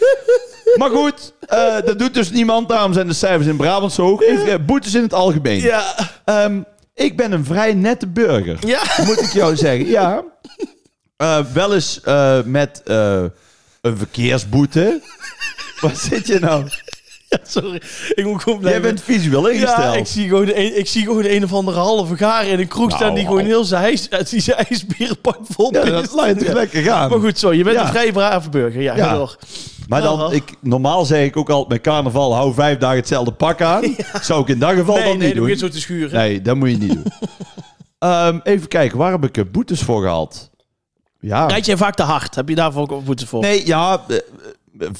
Maar goed, eh, dat doet dus niemand. Daarom zijn de cijfers in Brabant zo hoog. Even, eh, boetes in het algemeen.
Ja.
Ehm, ik ben een vrij nette burger.
Ja.
moet ik jou zeggen. Ja. Eh, wel eens eh, met eh, een verkeersboete. Wat zit je nou?
Sorry, ik moet gewoon
Jij
blijven.
bent visueel
ja, ik
ingesteld.
zie, gewoon een, ik zie gewoon een of andere halve gaar in een kroeg
Nou,
staan die
hou.
gewoon heel zijn, ijs, eh, die zijn ijsbierenpak vol
Ja,
pist.
dat laat je toch lekker gaan.
Maar
Maar,
goed, zo, je bent
Ja.
een vrij brave burger. Ja,
Ja.
ga door.
dan,
Oh.
ik, normaal zeg ik ook altijd met carnaval, hou vijf dagen hetzelfde pak aan. Zou ik in dat geval
Nee,
dan
nee,
niet
dan begint
doen.
zo te schuren.
Nee, dat moet je niet doen. Ehm, even kijken, waar heb ik er boetes voor gehad? Ja.
Rijd jij vaak te hard? Heb je daarvoor ook boete voor?
Nee, ja, eh, eh,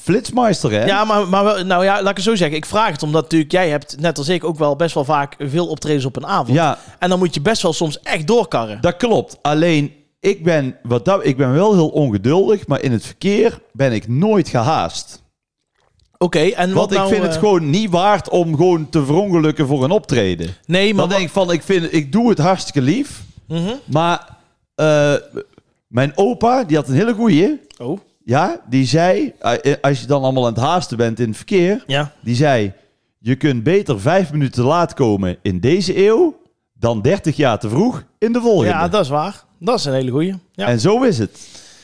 flitsmeister hè?
Ja, maar, maar wel- nou ja, laat ik het zo zeggen. Ik vraag het omdat natuurlijk jij hebt, net als ik, ook wel best wel vaak veel optredens op een avond.
ja,
En dan moet je best wel soms echt doorkarren.
Dat klopt. Alleen, ik ben, wat dat, ik ben wel heel ongeduldig, maar in het verkeer ben ik nooit gehaast.
Oké, en wat
Want
nou...
ik vind
eh,
het gewoon niet waard om gewoon te verongelukken voor een optreden.
Nee, maar...
Dan denk ik van, ik, vind, ik doe het hartstikke lief,
Mhm.
maar eh, mijn opa, die had een hele goeie,
Oh,
ja, die zei, eh, eh, als je dan allemaal aan het haasten bent in het verkeer,
ja.
die zei, je kunt beter vijf minuten te laat komen in deze eeuw, dan dertig jaar te vroeg in de volgende.
Ja, dat is waar. Dat is een hele goeie. Ja.
En zo is het.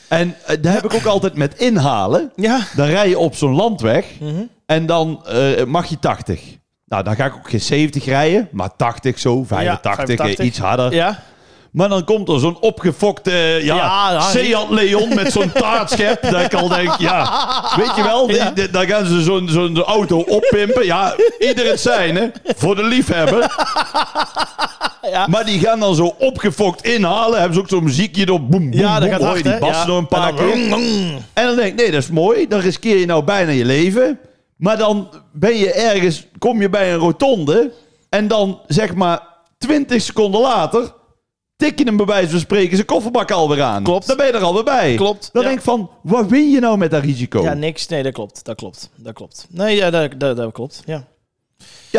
En eh, daar heb ik ook altijd met inhalen.
ja.
Dan rij je op zo'n landweg
Mhm.
en dan eh, mag je 80. Nou, dan ga ik ook geen 70 rijden, maar 80 zo, 85, eh,
85.
iets harder.
Ja.
Maar dan komt er zo'n opgefokte eh, ja,
Ja, Harry.
Seat Leon met zo'n taartschep. dat ik al denk, ja, weet je wel, die- die- daar gaan ze zo'n zo'n auto oppimpen. Ja, ieder het zijn, hè, voor de liefhebber.
Ja.
Maar die gaan dan zo opgefokt inhalen. Hebben ze ook zo'n muziekje door, boem, boem,
Ja, dat
boem,
gaat
hoor
hard,
je die
hè?
bassen
Ja.
door een paar
En dan-
keer. En dan denk ik, nee, dat is mooi. Dan riskeer je nou bijna je leven. Maar dan ben je ergens, kom je bij een rotonde. En dan zeg maar 20 seconden later. Tik je hem bij wijze van spreken zijn kofferbak alweer aan.
Klopt.
Dan ben je er alweer bij.
Klopt,
Dan
ja.
denk ik van, wat win je nou met dat risico?
Ja,
Ja,
niks. Nee, dat klopt. Dat klopt. Dat klopt. Nee, ja, dat, dat, dat klopt. Ja.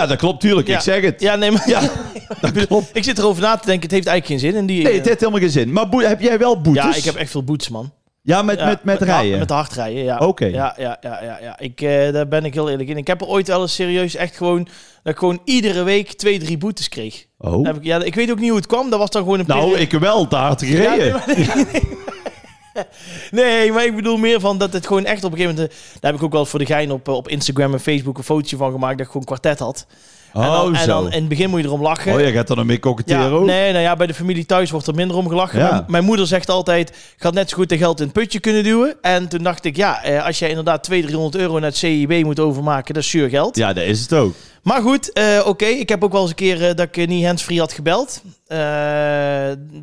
dat klopt, tuurlijk.
Ja.
Ik zeg het. Ja,
Ja, nee, maar
dat klopt.
ik zit erover na te denken. Het heeft eigenlijk geen zin in die...
Nee,
eh,
het heeft helemaal geen zin. Maar boe- heb jij wel boetes?
ja, ik heb echt veel boetes, man.
Ja, met,
Ja,
met, met rijden.
Met hard rijden, ja.
Oké.
Ja, ja, ja, ja. ja. Ik, eh, daar ben ik heel eerlijk in. Ik heb er ooit wel eens serieus echt gewoon... Dat ik gewoon iedere week twee, drie boetes kreeg.
Oh.
Heb ik, ja, ik weet ook niet hoe het kwam. Dat was dan gewoon een
Nou,
periode-
ik heb wel te hard
Ja,
gereden.
nee, maar- Nee, maar ik bedoel meer van dat het gewoon echt op een gegeven moment... eh, Daar heb ik ook wel voor de gein op, eh, op Instagram en Facebook een fotootje van gemaakt dat ik gewoon kwartet had.
Oh,
en dan,
zo.
en dan in het begin moet je erom lachen.
Oh, jij gaat er dan mee
Ja,
koketteren ook?
nee, nou ja, bij de familie thuis wordt er minder om gelachen.
Ja.
Mijn, mijn moeder zegt altijd, gaat net zo goed de geld in het putje kunnen duwen. En toen dacht ik, ja, eh, als jij inderdaad 200, 300 euro naar het CIB moet overmaken, dat is zuur geld.
Ja, dat is het ook.
Maar goed, eh, oké, ik heb ook wel eens een keer eh, dat ik eh, niet handsfree had gebeld. Eh,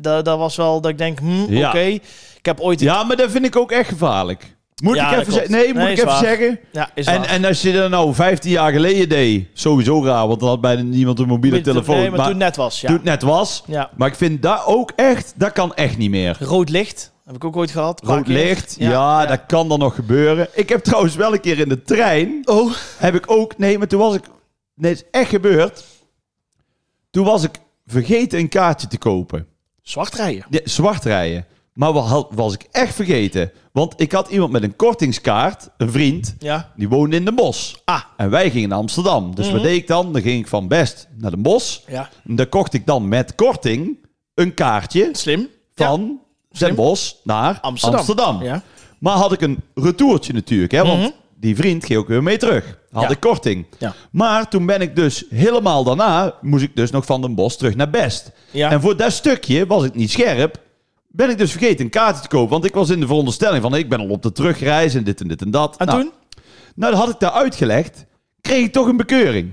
dat, dat was wel dat ik denk, hm,
Ja.
oké. Ik heb ooit...
Ja, maar dat vind ik ook echt gevaarlijk. Moet
Ja,
ik even
dat klopt.
zeggen? Nee, moet
Nee,
ik
is
even
waar.
zeggen?
Ja, is
En,
waar.
en als je dat nou 15 jaar geleden deed, sowieso raar, want dan had bijna niemand een mobiele telefoon.
Nee, maar,
maar
toen net was, ja.
toen het net was.
ja.
Maar ik vind dat ook echt, dat kan echt niet meer.
Rood licht, heb ik ook ooit gehad. een paar
Rood
keer.
licht, ja, dat kan dan nog gebeuren. Ik heb trouwens wel een keer in de trein,
Oh,
heb ik ook, nee, maar toen was ik, nee, het is echt gebeurd. Toen was ik vergeten een kaartje te kopen.
zwart rijden.
Ja, zwart rijden. Maar wat had- was ik echt vergeten. Want ik had iemand met een kortingskaart, een vriend,
Ja.
die woonde in Den Bosch. Ah. En wij gingen naar Amsterdam. Dus
Mhm.
wat deed ik dan? Dan ging ik van Best naar Den Bosch.
Ja.
En daar kocht ik dan met korting een kaartje
Slim. Ja.
van Den Bosch naar Amsterdam.
Amsterdam. Ja.
Maar had ik een retourtje natuurlijk, hè, want
Mhm.
die vriend ging ook weer mee terug. Had
Ja.
ik korting.
Ja.
Maar toen ben ik dus helemaal daarna, moest ik dus nog van Den Bosch terug naar Best.
Ja.
En voor dat stukje was ik niet scherp. Ben ik dus vergeten een kaartje te kopen. Want ik was in de veronderstelling van ik ben al op de terugreis en dit en dit en dat.
En
nou,
toen?
nou, dat had ik daar uitgelegd. Kreeg ik toch een bekeuring.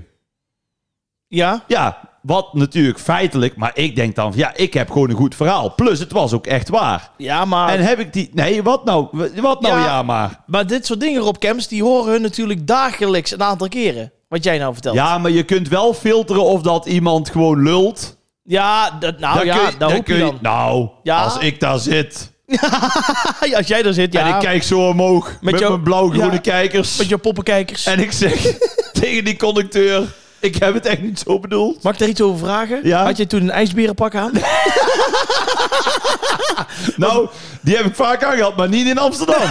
Ja.
Ja, wat natuurlijk feitelijk. Maar ik denk dan van ja, ik heb gewoon een goed verhaal. Plus het was ook echt waar.
Ja, maar...
En heb ik die... Nee, wat nou? Wat nou
Ah. Ja.
ja, maar?
Maar dit soort dingen, Rob Kemps, die horen hun natuurlijk dagelijks een aantal keren. Wat jij nou vertelt.
Ja, maar je kunt wel filteren of dat iemand gewoon lult.
Ja, dat, nou
Dan kun
ja,
je-
daar hoop
kun
je dan.
Nou,
Ja.
als ik daar zit
Nou, Als jij daar zit, ja.
en ik kijk zo omhoog met,
jou-
mijn blauw-groene
Ja.
kijkers.
Met je poppenkijkers.
En ik zeg tegen die conducteur, ik heb het echt niet zo bedoeld.
Mag ik daar iets over vragen?
Ja.
Had je toen een ijsberenpak aan?
Nou, die heb ik vaak aangehad, maar niet in Amsterdam.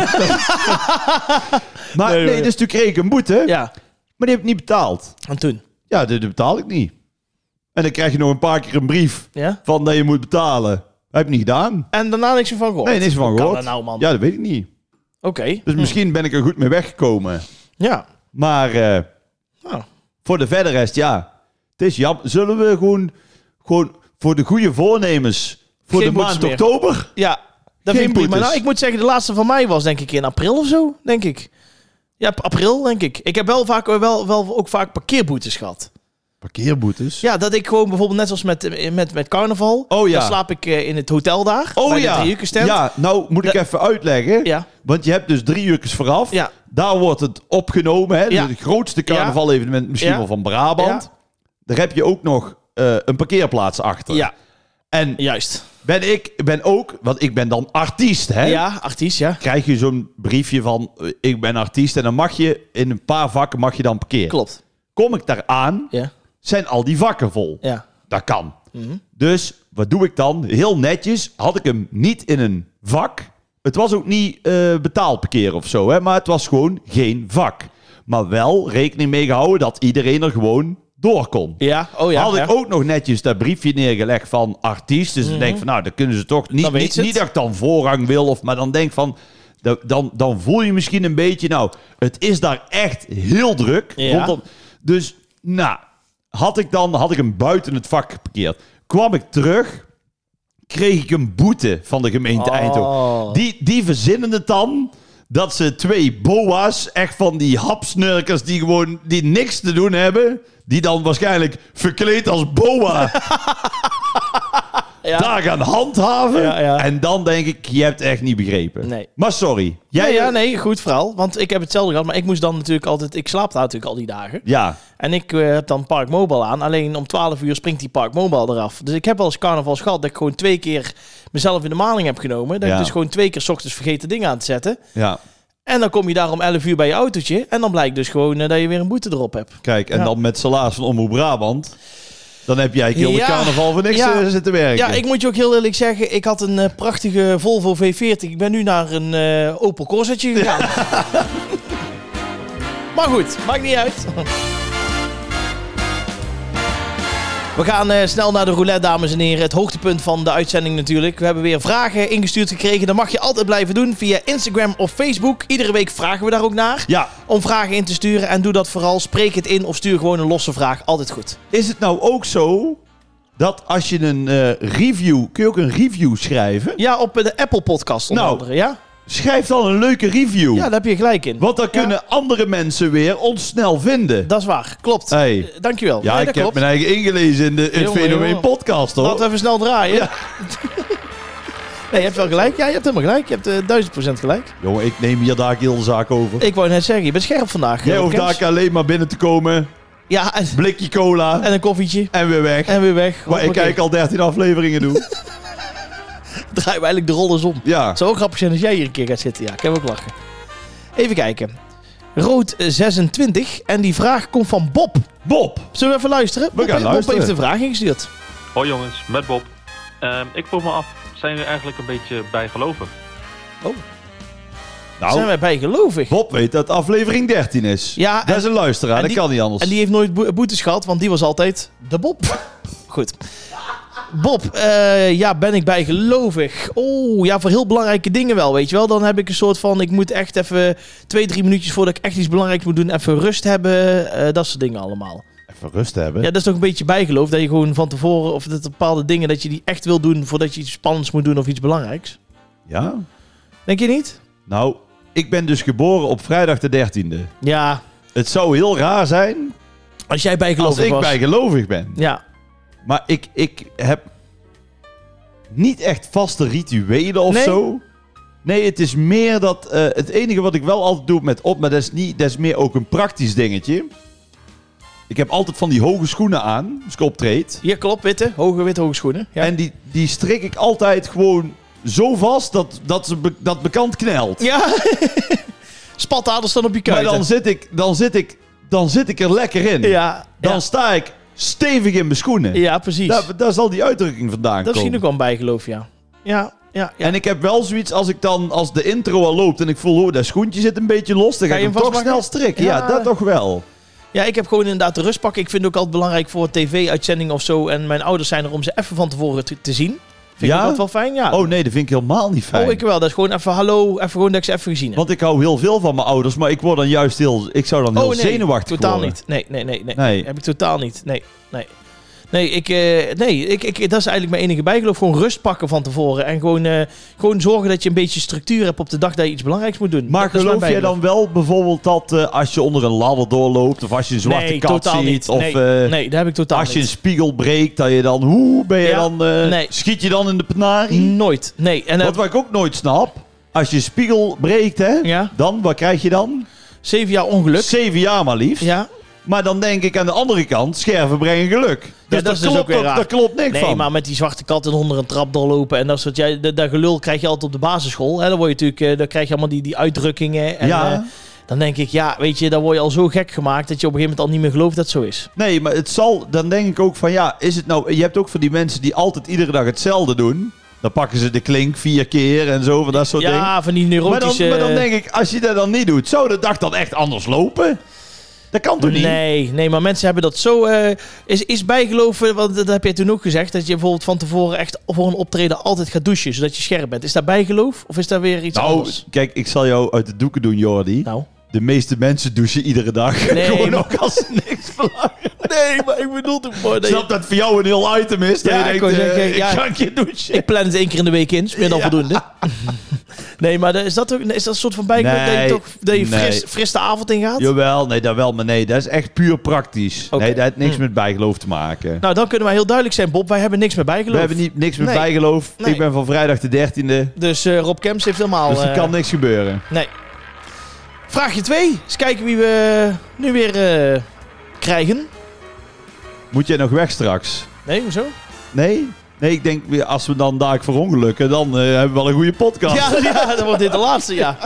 maar
Nee,
nee,
nee.
dus toen kreeg ik een boete,
ja.
maar die heb ik niet betaald.
En toen?
Ja, die die betaal ik niet. En dan krijg je nog een paar keer een brief
Ja.
van dat je moet betalen. Heb ik niet gedaan.
En daarna niks meer van gehoord?
Nee, niks van
Hoe
gehoord.
kan dat nou, man? Hm.
Ja, dat weet ik niet.
Oké.
Dus misschien ben ik er goed mee weggekomen.
Ja.
Maar eh,
Nou,
voor de verder rest, ja. Het is jammer. Zullen we gewoon, gewoon voor de goede voornemens voor
Geen
de maand
boetes meer.
oktober?
Ja. Dat
Geen
vind ik prima.
boetes.
Nou, ik moet zeggen, de laatste van mij was denk ik in april of zo, denk ik. Ja, p- april, denk ik. Ik heb wel, vaak, eh, wel, wel ook vaak parkeerboetes gehad.
Parkeerboetes?
Ja, dat ik gewoon bijvoorbeeld net zoals met, eh, met, met carnaval.
Oh ja.
Dan slaap ik eh, in het hotel daar.
Oh
bij de
ja.
driehoekenstand.
ja, nou moet ik
Da-
even uitleggen.
Ja.
Want je hebt dus drie uurkes vooraf.
Ja.
Daar wordt het opgenomen. Hè?
Ja.
Het grootste carnaval-evenement misschien
Ja.
wel van Brabant.
Ja.
Daar heb je ook nog eh, een parkeerplaats achter.
Ja,
En
juist.
ben ik ben ook, want ik ben dan artiest. Hè?
Ja, artiest, ja.
krijg je zo'n briefje van eh, ik ben artiest en dan mag je in een paar vakken mag je dan parkeren.
Klopt.
Kom ik daar aan,
Ja,
zijn al die vakken vol.
ja. Mhm.
Dat kan. Dus wat doe ik dan? Heel netjes had ik hem niet in een vak. Het was ook niet eh betaald parkeren of zo, hè, maar het was gewoon geen vak. Maar wel rekening mee gehouden dat iedereen er gewoon door kon.
Ja, oh ja.
had
ja.
ik ook nog netjes dat briefje neergelegd van artiest. Dus dan denk ik van, nou, dan kunnen ze toch niet...
Mhm. Dan weet
Niet,
ze het.
niet dat ik dan voorrang wil, of, maar dan denk ik van... da- Dan, dan voel je misschien een beetje, nou, het is daar echt heel druk.
Ja.
Rondom, dus, nou, had ik dan had ik hem buiten het vak geparkeerd. Kwam ik terug, kreeg ik een boete van de gemeente
Oh.
Eindhoven. Die, die verzinnen het dan dat ze twee boa's, echt van die hapsnurkers die gewoon die niks te doen hebben, die dan waarschijnlijk verkleed als boa
Ja.
daar gaan handhaven.
Ja, ja.
En dan denk ik, je hebt echt niet begrepen.
Nee.
Maar sorry.
Ja,
Jij, eh?
ja, nee, goed verhaal. Want ik heb hetzelfde gehad, maar ik moest dan natuurlijk altijd... Ik slaap daar natuurlijk al die dagen.
Ja,
En ik eh, heb dan Park Mobile aan. Alleen om 12 uur springt die Park Mobile eraf. Dus ik heb wel eens carnavals gehad dat ik gewoon twee keer mezelf in de maling heb genomen. Dat
Ja.
ik dus gewoon twee keer 's ochtends vergeten dingen aan te zetten.
ja.
En dan kom je daar om 11 uur bij je autootje. En dan blijkt dus gewoon eh, dat je weer een boete erop hebt.
Kijk, en
Ja.
dan met salaris van Omroep Brabant. Dan heb jij heel
Ja.
de carnaval voor niks
Ja.
eh, zitten
Ja,
werken.
ik moet je ook heel eerlijk zeggen, ik had een eh, prachtige Volvo V40. Ik ben nu naar een eh, Opel Corsetje gegaan. maar goed, maakt niet uit. We gaan eh, snel naar de roulette, dames en heren. Het hoogtepunt van de uitzending natuurlijk. We hebben weer vragen ingestuurd gekregen. Dat mag je altijd blijven doen via Instagram of Facebook. Iedere week vragen we daar ook naar.
Ja,
Om vragen in te sturen. En doe dat vooral. Spreek het in of stuur gewoon een losse vraag. Altijd goed.
is het nou ook zo dat als je een eh, review... Kun je ook een review schrijven?
Ja, op de Apple podcast onder
Nou.
andere. Ja?
Schrijf dan een leuke review.
ja, daar heb je gelijk in.
Want dan kunnen andere mensen weer ons snel vinden.
Dat is waar. Klopt.
Hey.
Eh, Dankjewel.
Ja,
Nee,
ik
dat
heb
klopt.
mijn eigen ingelezen in de in het
Jongen,
Fenomeen
jongen.
podcast, hoor.
Laten we even snel draaien. nee, je hebt wel gelijk. Ja, je hebt helemaal gelijk. Je hebt eh, 1000% gelijk.
Jongen, ik neem hier daar heel de zaak over.
Ik wou net zeggen, je bent scherp vandaag.
Jij
eh,
hoeft
Kems.
daar alleen maar binnen te komen.
Ja, en,
Blikje cola
en een koffietje.
en weer weg.
En weer weg.
Maar ik
Hoppakee.
kijk al 13 afleveringen doen.
draaien we eigenlijk de rol eens om.
Ja.
Het zou ook grappig zijn als jij hier een keer gaat zitten. Ja, ik heb ook lachen. Even kijken. Rood26 en die vraag komt van Bob.
Bob.
Zullen we even luisteren? Bob,
gaan
heeft- Bob
luisteren.
heeft een vraag ingestuurd.
Hoi jongens, met Bob. Ehm, ik vroeg me af, zijn jullie eigenlijk een beetje bijgelovig?
Zijn
Nou,
wij bijgelovig?
Bob weet dat aflevering 13 is.
Ja,
Dat
en,
is een luisteraar,
en
dat
die-
kan niet anders.
en die heeft nooit boe- boetes gehad, want die was altijd de Bob. Goed. Bob, eh, ja, ben ik bijgelovig? Oh, ja, voor heel belangrijke dingen wel, weet je wel. Dan heb ik een soort van, ik moet echt even twee, drie minuutjes voordat ik echt iets belangrijks moet doen, even rust hebben. eh, dat soort dingen allemaal.
Even rust hebben.
Ja, dat is toch een beetje bijgeloof. Dat je gewoon van tevoren, of dat er bepaalde dingen, dat je die echt wil doen voordat je iets spannends moet doen of iets belangrijks.
Ja?
Denk je niet?
Nou, ik ben dus geboren op vrijdag de 13e.
Ja,
Het zou heel raar zijn
als jij bijgelovig
als ik
was.
bijgelovig ben.
Ja,
Maar ik, ik heb niet echt vaste rituelen of
Nee?
zo. Nee, het is meer dat... eh, het enige wat ik wel altijd doe met op, maar dat is, niet, dat is meer ook een praktisch dingetje. Ik heb altijd van die hoge schoenen aan, als ik optreed.
hier klopt, witte, hoge witte hoge schoenen. Ja.
En die, die strik ik altijd gewoon zo vast dat dat, ze be- dat bekant knelt.
ja. Spataders dan op je
maar
kuiten.
dan zit, ik, dan, zit ik, dan zit ik er lekker in.
ja,
Dan
ja,
sta ik stevig in mijn schoenen.
ja, precies.
Daar, daar zal die uitdrukking vandaan
Dat is
komen.
misschien ook wel een bijgeloof, ja. Ja, ja, ja.
En ik heb wel zoiets als ik dan, als de intro al loopt en ik voel, oh, dat schoentje zit een beetje los, dan ga,
Ga je
ik hem
hem
toch snel
vastmaken?
strikken. Ja.
Ja.
dat toch wel.
Ja, ik heb gewoon inderdaad de rust pakken. Ik vind het ook altijd belangrijk voor tv-uitzendingen of zo. En mijn ouders zijn er om ze even van tevoren te, te zien. Vind
Ja?
ik dat wel fijn, ja.
Oh nee, dat vind ik helemaal niet fijn.
Oh, ik wel. Dat is gewoon even hallo, even gewoon dat ik ze even gezien heb.
Want ik hou heel veel van mijn ouders, maar ik word dan juist heel, ik zou dan heel zenuwachtig
Oh, totaal
worden.
niet. Nee, nee, nee, nee,
Nee.
Heb ik totaal niet. Nee, nee. Nee, ik, eh, nee ik, ik, dat is eigenlijk mijn enige bijgeloof. Gewoon rust pakken van tevoren. En gewoon, eh, gewoon zorgen dat je een beetje structuur hebt op de dag dat je iets belangrijks moet doen.
Maar
Dat is mijn
geloof jij
bijgeloof.
dan wel bijvoorbeeld dat eh, als je onder een ladder doorloopt, of als je een zwarte
nee,
kat
totaal
ziet,
niet.
of
nee,
eh,
nee, dat heb ik totaal
als je een
niet.
spiegel breekt, dat je dan, hoe ben je
Ja,
dan, eh,
nee.
schiet je dan in de penarie?
Nooit. Nee. En, eh,
Wat, wat ik ook nooit snap, als je een spiegel breekt, hè,
Ja.
dan, wat krijg je dan?
zeven jaar ongeluk.
Zeven jaar maar liefst.
Ja.
Maar dan denk ik aan de andere kant, scherven brengen geluk. Dus
dat
dat
is dus
klopt,
ook weer
dat-
raar.
daar klopt niks
Nee,
van.
maar met die zwarte kat en onder een trap doorlopen en dat soort... Ja, dat, dat gelul krijg je altijd op de basisschool. Hè? Dan, word je natuurlijk, eh, dan krijg je allemaal die, die uitdrukkingen. En,
ja.
eh, dan denk ik, ja, weet je, dan word je al zo gek gemaakt... dat je op een gegeven moment al niet meer gelooft dat het zo is.
nee, maar het zal, dan denk ik ook van ja, is het nou, je hebt ook van die mensen die altijd iedere dag hetzelfde doen. Dan pakken ze de klink vier keer en zo, van dat soort dingen.
ja, eh, van die
Maar dan,
neurotische...
maar dan denk ik, als je dat dan niet doet, zou de dag dan echt anders lopen? Dat kan toch niet?
Nee, nee, maar mensen hebben dat zo... eh, is, is bijgeloven, want dat heb jij toen ook gezegd... dat je bijvoorbeeld van tevoren echt voor een optreden altijd gaat douchen... zodat je scherp bent. Is dat bijgeloof of is dat weer iets
Nou,
anders?
kijk, ik zal jou uit de doeken doen, Jordi.
Nou...
De meeste mensen douchen iedere dag.
Nee,
Gewoon
maar-
ook als ze niks verlangen.
Nee, maar ik bedoel toch maar...
Ik oh, snap dat voor jou een heel item is. Dat
Ja,
je
ik
denkt,
wou
eh,
zeggen,
ik
ja.
ga een keer douchen.
Ik plan het één keer in de week in, is meer dan
Ja.
voldoende. nee, maar is dat, ook, is dat een soort van bijgeloof dat
Nee,
je, toch, dat je
nee.
fris, fris de avond ingaat?
Jawel, nee, dat wel, maar nee, dat is echt puur praktisch.
Oké.
Nee, dat heeft niks
Hm.
met bijgeloof te maken.
Nou, dan kunnen wij heel duidelijk zijn, Bob. Wij hebben niks meer
We
bijgeloof.
hebben niet, niks met
Nee.
bijgeloof.
Nee.
Ik ben van vrijdag de 13e,
Dus eh, Rob Kemps heeft helemaal...
dus er
eh,
kan niks gebeuren.
Nee. Vraagje 2. Eens kijken wie we nu weer eh, krijgen.
Moet jij nog weg straks?
Nee, hoezo?
Nee? Nee, ik denk, weer, als we dan daar voor ongelukken, dan eh, hebben we wel een goede podcast.
Ja, ja, dan wordt dit de laatste, ja.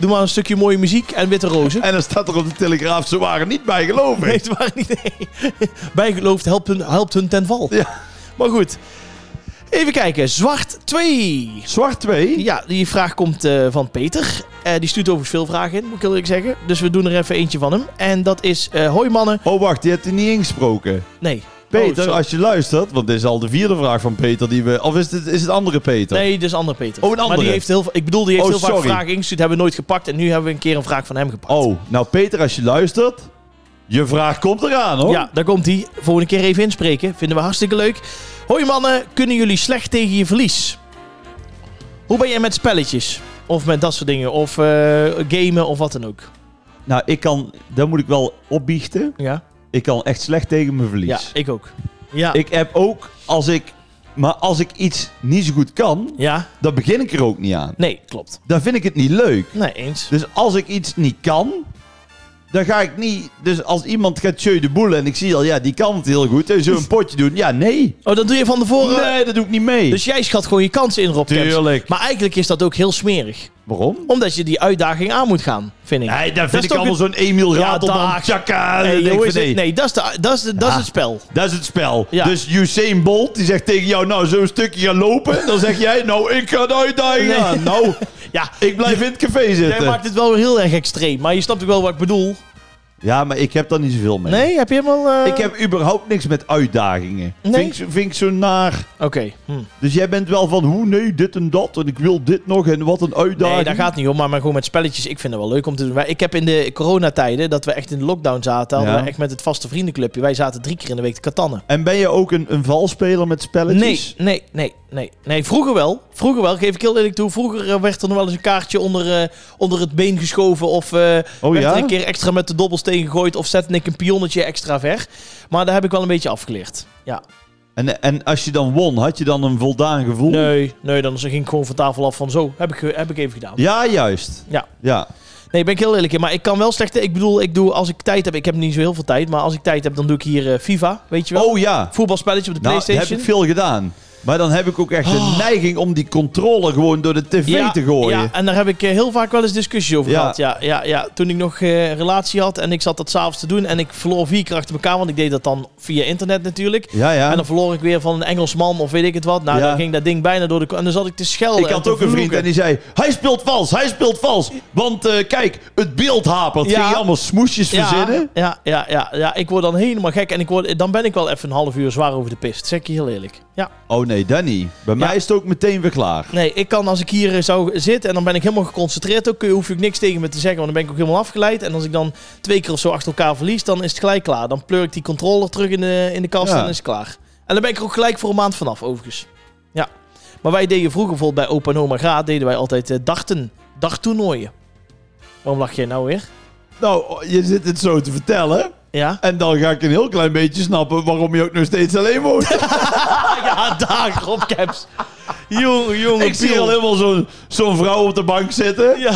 Doe maar een stukje mooie muziek en witte rozen.
En dan staat er op de Telegraaf, ze waren niet bijgelovig.
Nee, het waren niet. Nee. Bijgeloof helpt hun, helpt hun ten val.
Ja.
Maar goed. Even kijken. Zwart 2.
Zwart 2?
Ja, die vraag komt eh, van Peter. Eh, die stuurt overigens veel vragen in, moet ik heel eerlijk zeggen. Dus we doen er even eentje van hem. En dat is... eh, Hoi mannen.
Oh, wacht, die hebt hij niet ingesproken.
Nee.
Peter,
zo.
als je luistert, want dit is al de vierde vraag van Peter die we... Of is het, is het andere Peter?
Nee, dus andere Peter.
Oh, een
Maar
andere.
die heeft heel, veel- ik bedoel, die heeft
Oh,
heel vaak
sorry.
vragen ingestuurd, hebben we nooit gepakt. En nu hebben we een keer een vraag van hem gepakt.
Oh, nou Peter, als je luistert, je vraag komt eraan hoor.
Ja, daar komt hij. Volgende keer even inspreken. Vinden we hartstikke leuk. Hoi mannen, kunnen jullie slecht tegen je verlies? Hoe ben jij met spelletjes? Of met dat soort dingen? Of eh, gamen of wat dan ook?
Nou, ik kan... Daar moet ik wel opbiechten.
Ja,
Ik kan echt slecht tegen mijn verlies.
ja ik ook. Ja.
Ik heb ook, als ik... Maar als ik iets niet zo goed kan,
ja,
dan begin ik er ook niet aan.
nee, klopt.
Dan vind ik het niet leuk.
Nee, eens.
Dus als ik iets niet kan, dan ga ik niet... Dus als iemand gaat tjeu de boel en ik zie al, ja, die kan het heel goed. En zo een potje doen, ja, nee.
Oh, dat doe je van tevoren.
Nee, dat doe ik niet mee.
Dus jij schat gewoon je kansen in, Rob Kemps.
Tuurlijk.
Maar eigenlijk is dat ook heel smerig.
Waarom?
Omdat je die uitdaging aan moet gaan, vind ik.
Nee, dat
is
vind ik
toch
allemaal zo'n Emil
Ja,
Ratelman. Ja,
dag.
tjaka.
Nee,
Dan denk ik
hoe
van,
is het?
nee,
Nee, dat is, de, dat is, de- dat is
Ja.
het spel.
Dat is het spel.
Ja.
Dus Usain Bolt, die zegt tegen jou, nou, zo'n stukje gaan lopen. Dan zeg jij, nou, ik ga de uitdaging
Nee.
aan. Nou,
Ja,
ik blijf in het café
jij
zitten.
maakt het wel weer heel erg extreem. Maar je snapt ook wel wat ik bedoel.
Ja, maar ik heb daar niet zoveel mee.
Nee, heb je helemaal... eh,
Ik heb überhaupt niks met uitdagingen.
Nee.
Vind, ik, zo- vind ik zo naar.
Oké. hm.
Dus jij bent wel van, hoe, nee, dit en dat. En ik wil dit nog en wat een uitdaging.
Nee, daar gaat het niet om. Maar, maar gewoon met spelletjes. Ik vind het wel leuk om te doen. Maar ik heb in de coronatijden, dat we echt in de lockdown zaten, hadden
Ja.
we echt met het vaste vriendenclubje. Wij zaten drie keer in de week te katannen.
En ben je ook een, een valspeler met spelletjes?
Nee, nee, nee, nee. Nee, vroeger wel. Vroeger wel, geef ik heel eerlijk toe. Vroeger eh, werd er nog wel eens een kaartje onder, eh, onder het been geschoven. Of eh,
Oh
werd
ja?
er een keer extra met de dobbelsteen gegooid. Of zette ik een pionnetje extra ver. Maar daar heb ik wel een beetje afgeleerd. Ja.
En, en als je dan won, had je dan een voldaan gevoel?
Nee, nee, dan ging ik gewoon van tafel af van zo. Heb ik, ge- heb ik even gedaan.
Ja, juist.
Ja.
Ja.
Nee, ben ik heel eerlijk in. Maar ik kan wel slecht... Ik bedoel, ik doe als ik tijd heb... Ik heb niet zo heel veel tijd. Maar als ik tijd heb, dan doe ik hier eh, FIFA. Weet je wel?
Oh ja.
Voetbalspelletje op de
Nou, dat heb
Playstation.
ik veel gedaan. Maar dan heb ik ook echt de neiging om die controle gewoon door de tv
ja,
te gooien.
ja, en daar heb ik eh, heel vaak wel eens discussies over
Ja.
gehad. Ja, ja, ja. Toen ik nog eh, een relatie had en ik zat dat s'avonds te doen. En ik verloor vier keer achter elkaar, want ik deed dat dan via internet natuurlijk.
ja. ja.
En dan verloor ik weer van een Engelsman of weet ik het wat. Nou,
Ja.
dan ging dat ding bijna door de... ko- En dan zat ik te schelden.
ik
en
had
te
ook een vriend
vloeken.
en die zei, hij speelt vals, hij speelt vals. Want eh, kijk, het beeld hapert.
Ja.
Ging je allemaal smoesjes verzinnen?
Ja, ja, ja, ja, ik word dan helemaal gek. En ik word, dan ben ik wel even een half uur zwaar over de pist. Zeg ik je heel eerlijk. Ja.
Oh nee, Danny. Bij mij is het ook meteen weer klaar.
Nee, ik kan als ik hier eh, zou zitten en dan ben ik helemaal geconcentreerd. Ook kun je- hoef ik niks tegen me te zeggen, want dan ben ik ook helemaal afgeleid. En als ik dan twee keer of zo achter elkaar verlies, dan is het gelijk klaar. Dan pleur ik die controller terug in de, in de kast
Ja.
en dan is het klaar. En dan ben ik er ook gelijk voor een maand vanaf, overigens. Ja. Maar wij deden vroeger bijvoorbeeld bij Opa en Oma Graat, deden wij altijd eh, darten, darttoernooien. Waarom lach jij nou weer?
Nou, je zit het zo te vertellen.
Ja?
En dan ga ik een heel klein beetje snappen waarom je ook nog steeds alleen woont.
ja, daar, Rob Caps. Jongen, jongen,
ik zie
Piel.
al helemaal zo'n zo'n vrouw op de bank zitten.
Ja.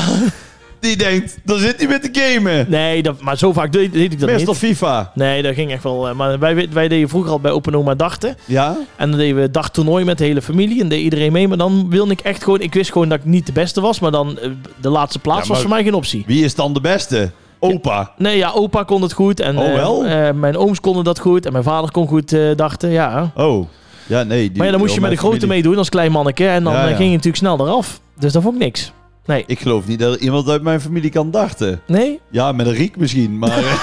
Die denkt, dan zit hij met te gamen.
Nee, dat, maar zo vaak deed, deed ik dat
Meestal
niet.
FIFA.
Nee, dat ging echt wel. eh, Maar wij, wij deden vroeger al bij Open Oma Dachten.
Ja?
En dan deden we dagtoernooi met de hele familie. En deed iedereen mee. Maar dan wilde ik echt gewoon... Ik wist gewoon dat ik niet de beste was. Maar dan eh, de laatste plaats was
Ja, maar-
voor mij geen optie.
Wie is dan de beste? Opa.
Nee, ja, opa kon het goed. En,
Oh,
eh,
wel?
eh, mijn ooms konden dat goed. En mijn vader kon goed eh, dachten, ja.
Oh. Ja, nee. Die,
maar ja, dan moest je
oh,
met de
mijn
grote
familie-
meedoen als klein manneke. En dan
Ja,
eh,
ja.
ging je natuurlijk snel eraf. Dus dat vond ik niks. Nee.
Ik geloof niet dat er iemand uit mijn familie kan dachten.
Nee?
Ja, met een riek misschien, maar... eh,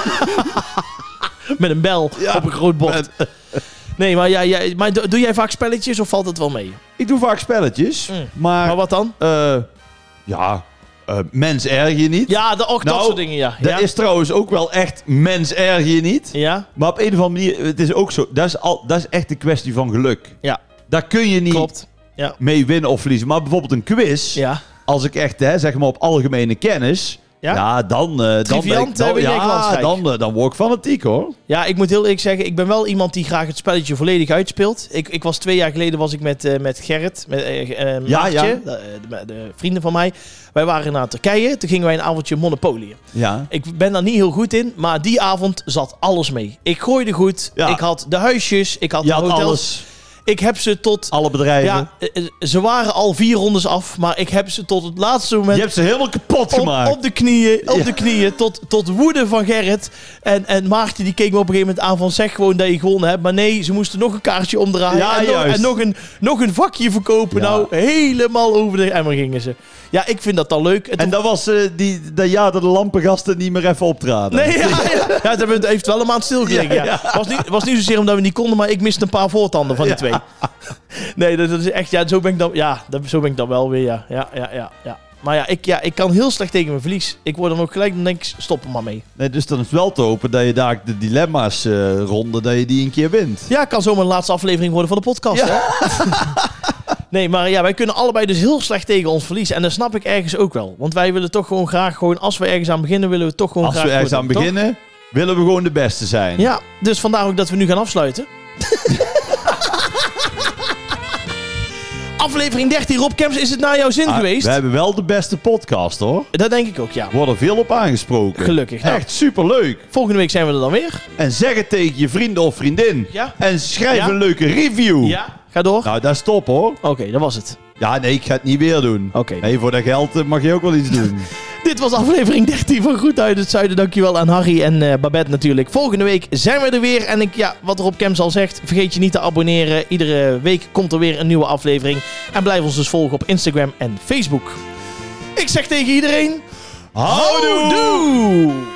Met een bel
Ja,
op een groot bord.
met-
Nee, maar, ja, ja, maar do- doe jij vaak spelletjes of valt het wel mee?
ik doe vaak spelletjes,
Mm.
maar...
Maar wat dan?
eh, ja, eh, mens erg je niet.
Ja, de, ook dat
Nou,
soort dingen, ja.
Dat
Ja?
is trouwens ook wel echt mens erg je niet.
ja?
Maar op een of andere manier, het is ook zo... Dat is, al, dat is echt een kwestie van geluk.
Ja.
Daar kun je niet
Klopt.
mee winnen of verliezen. Maar bijvoorbeeld een quiz...
Ja.
als ik echt, hè, zeg maar, op algemene kennis.
Ja?
Ja, dan. eh dan, ben
Triviant,
ik, dan,
hè, ben jij
ja,
glansrijk.
dan, eh, dan word ik fanatiek hoor.
ja, ik moet heel eerlijk zeggen, ik ben wel iemand die graag het spelletje volledig uitspeelt. Ik, ik was twee jaar geleden was ik met, eh, met Gerrit, met eh eh,
Ja,
Maartje, de,
ja.
eh, de- de vrienden van mij. Wij waren naar Turkije, toen gingen wij een avondje Monopoly.
Ja.
Ik ben daar niet heel goed in, maar die avond zat alles mee. Ik gooide goed,
Ja.
ik had de huisjes, ik had
Je
de
had
hotels.
alles.
Ik heb ze tot...
Alle bedrijven.
Ja, eh, eh, ze waren al vier rondes af, maar ik heb ze tot het laatste moment...
je hebt ze helemaal kapot
op,
gemaakt.
op de knieën, op
Ja.
de knieën, tot, tot woede van Gerrit. En, en Maarten die keek me op een gegeven moment aan van zeg gewoon dat je gewonnen hebt. Maar nee, ze moesten nog een kaartje omdraaien
Ja,
en, nog,
juist.
en nog, een, nog een vakje verkopen.
Ja.
Nou, helemaal over de emmer gingen ze. Ja, ik vind dat dan leuk. En
en dat was eh, die, dat jaar dat de lampengasten niet meer even optraden.
Nee, ja, ja. ja, het hebben- het heeft wel een maand stilgelegen. Ja,
Ja,
Was, niet, was niet zozeer omdat we niet konden, maar ik miste een paar voortanden van de twee. Nee, dat, dat is echt, ja, zo ben ik dan, ja, dat, zo ben ik dan wel weer, ja. Ja, ja, ja, ja. Maar ja ik, ja, ik kan heel slecht tegen mijn verlies. Ik word dan ook gelijk, dan denk ik, stop er maar mee.
Nee, dus dan is het wel te hopen dat je daar de dilemma's eh ronde, dat je die een keer wint.
Ja, kan zomaar de laatste aflevering worden van de podcast, hè?
Ja.
Nee, maar ja, wij kunnen allebei dus heel slecht tegen ons verlies. En dat snap ik ergens ook wel. Want wij willen toch gewoon graag, gewoon, als we ergens aan beginnen, willen we toch gewoon
Als
graag...
we ergens
goed
aan
doen, toch?
beginnen, willen we gewoon de beste zijn.
Ja, dus vandaar ook dat we nu gaan afsluiten. Aflevering 13, Rob Kemps, is het naar jouw zin
Ah,
geweest?
We hebben wel de beste podcast hoor.
Dat denk ik ook, ja.
Er worden veel op aangesproken.
Gelukkig, nou.
Echt superleuk.
Volgende week zijn we er dan weer.
En zeg het tegen je vrienden of vriendin.
Ja.
En schrijf
Ja.
een leuke review.
Ga door.
Nou, dat is top hoor.
Oké, dat was het.
Ja, nee, ik ga het niet weer doen.
Oké.
Nee, voor dat geld eh, mag je ook wel iets doen.
Dit was aflevering 13 van Goed uit het Zuiden. Dankjewel aan Harry en eh, Babette natuurlijk. Volgende week zijn we er weer. En ik, ja, wat Rob Kemps al zegt, vergeet je niet te abonneren. Iedere week komt er weer een nieuwe aflevering. En blijf ons dus volgen op Instagram en Facebook. Ik zeg tegen iedereen...
Houdoe!
Houdoe!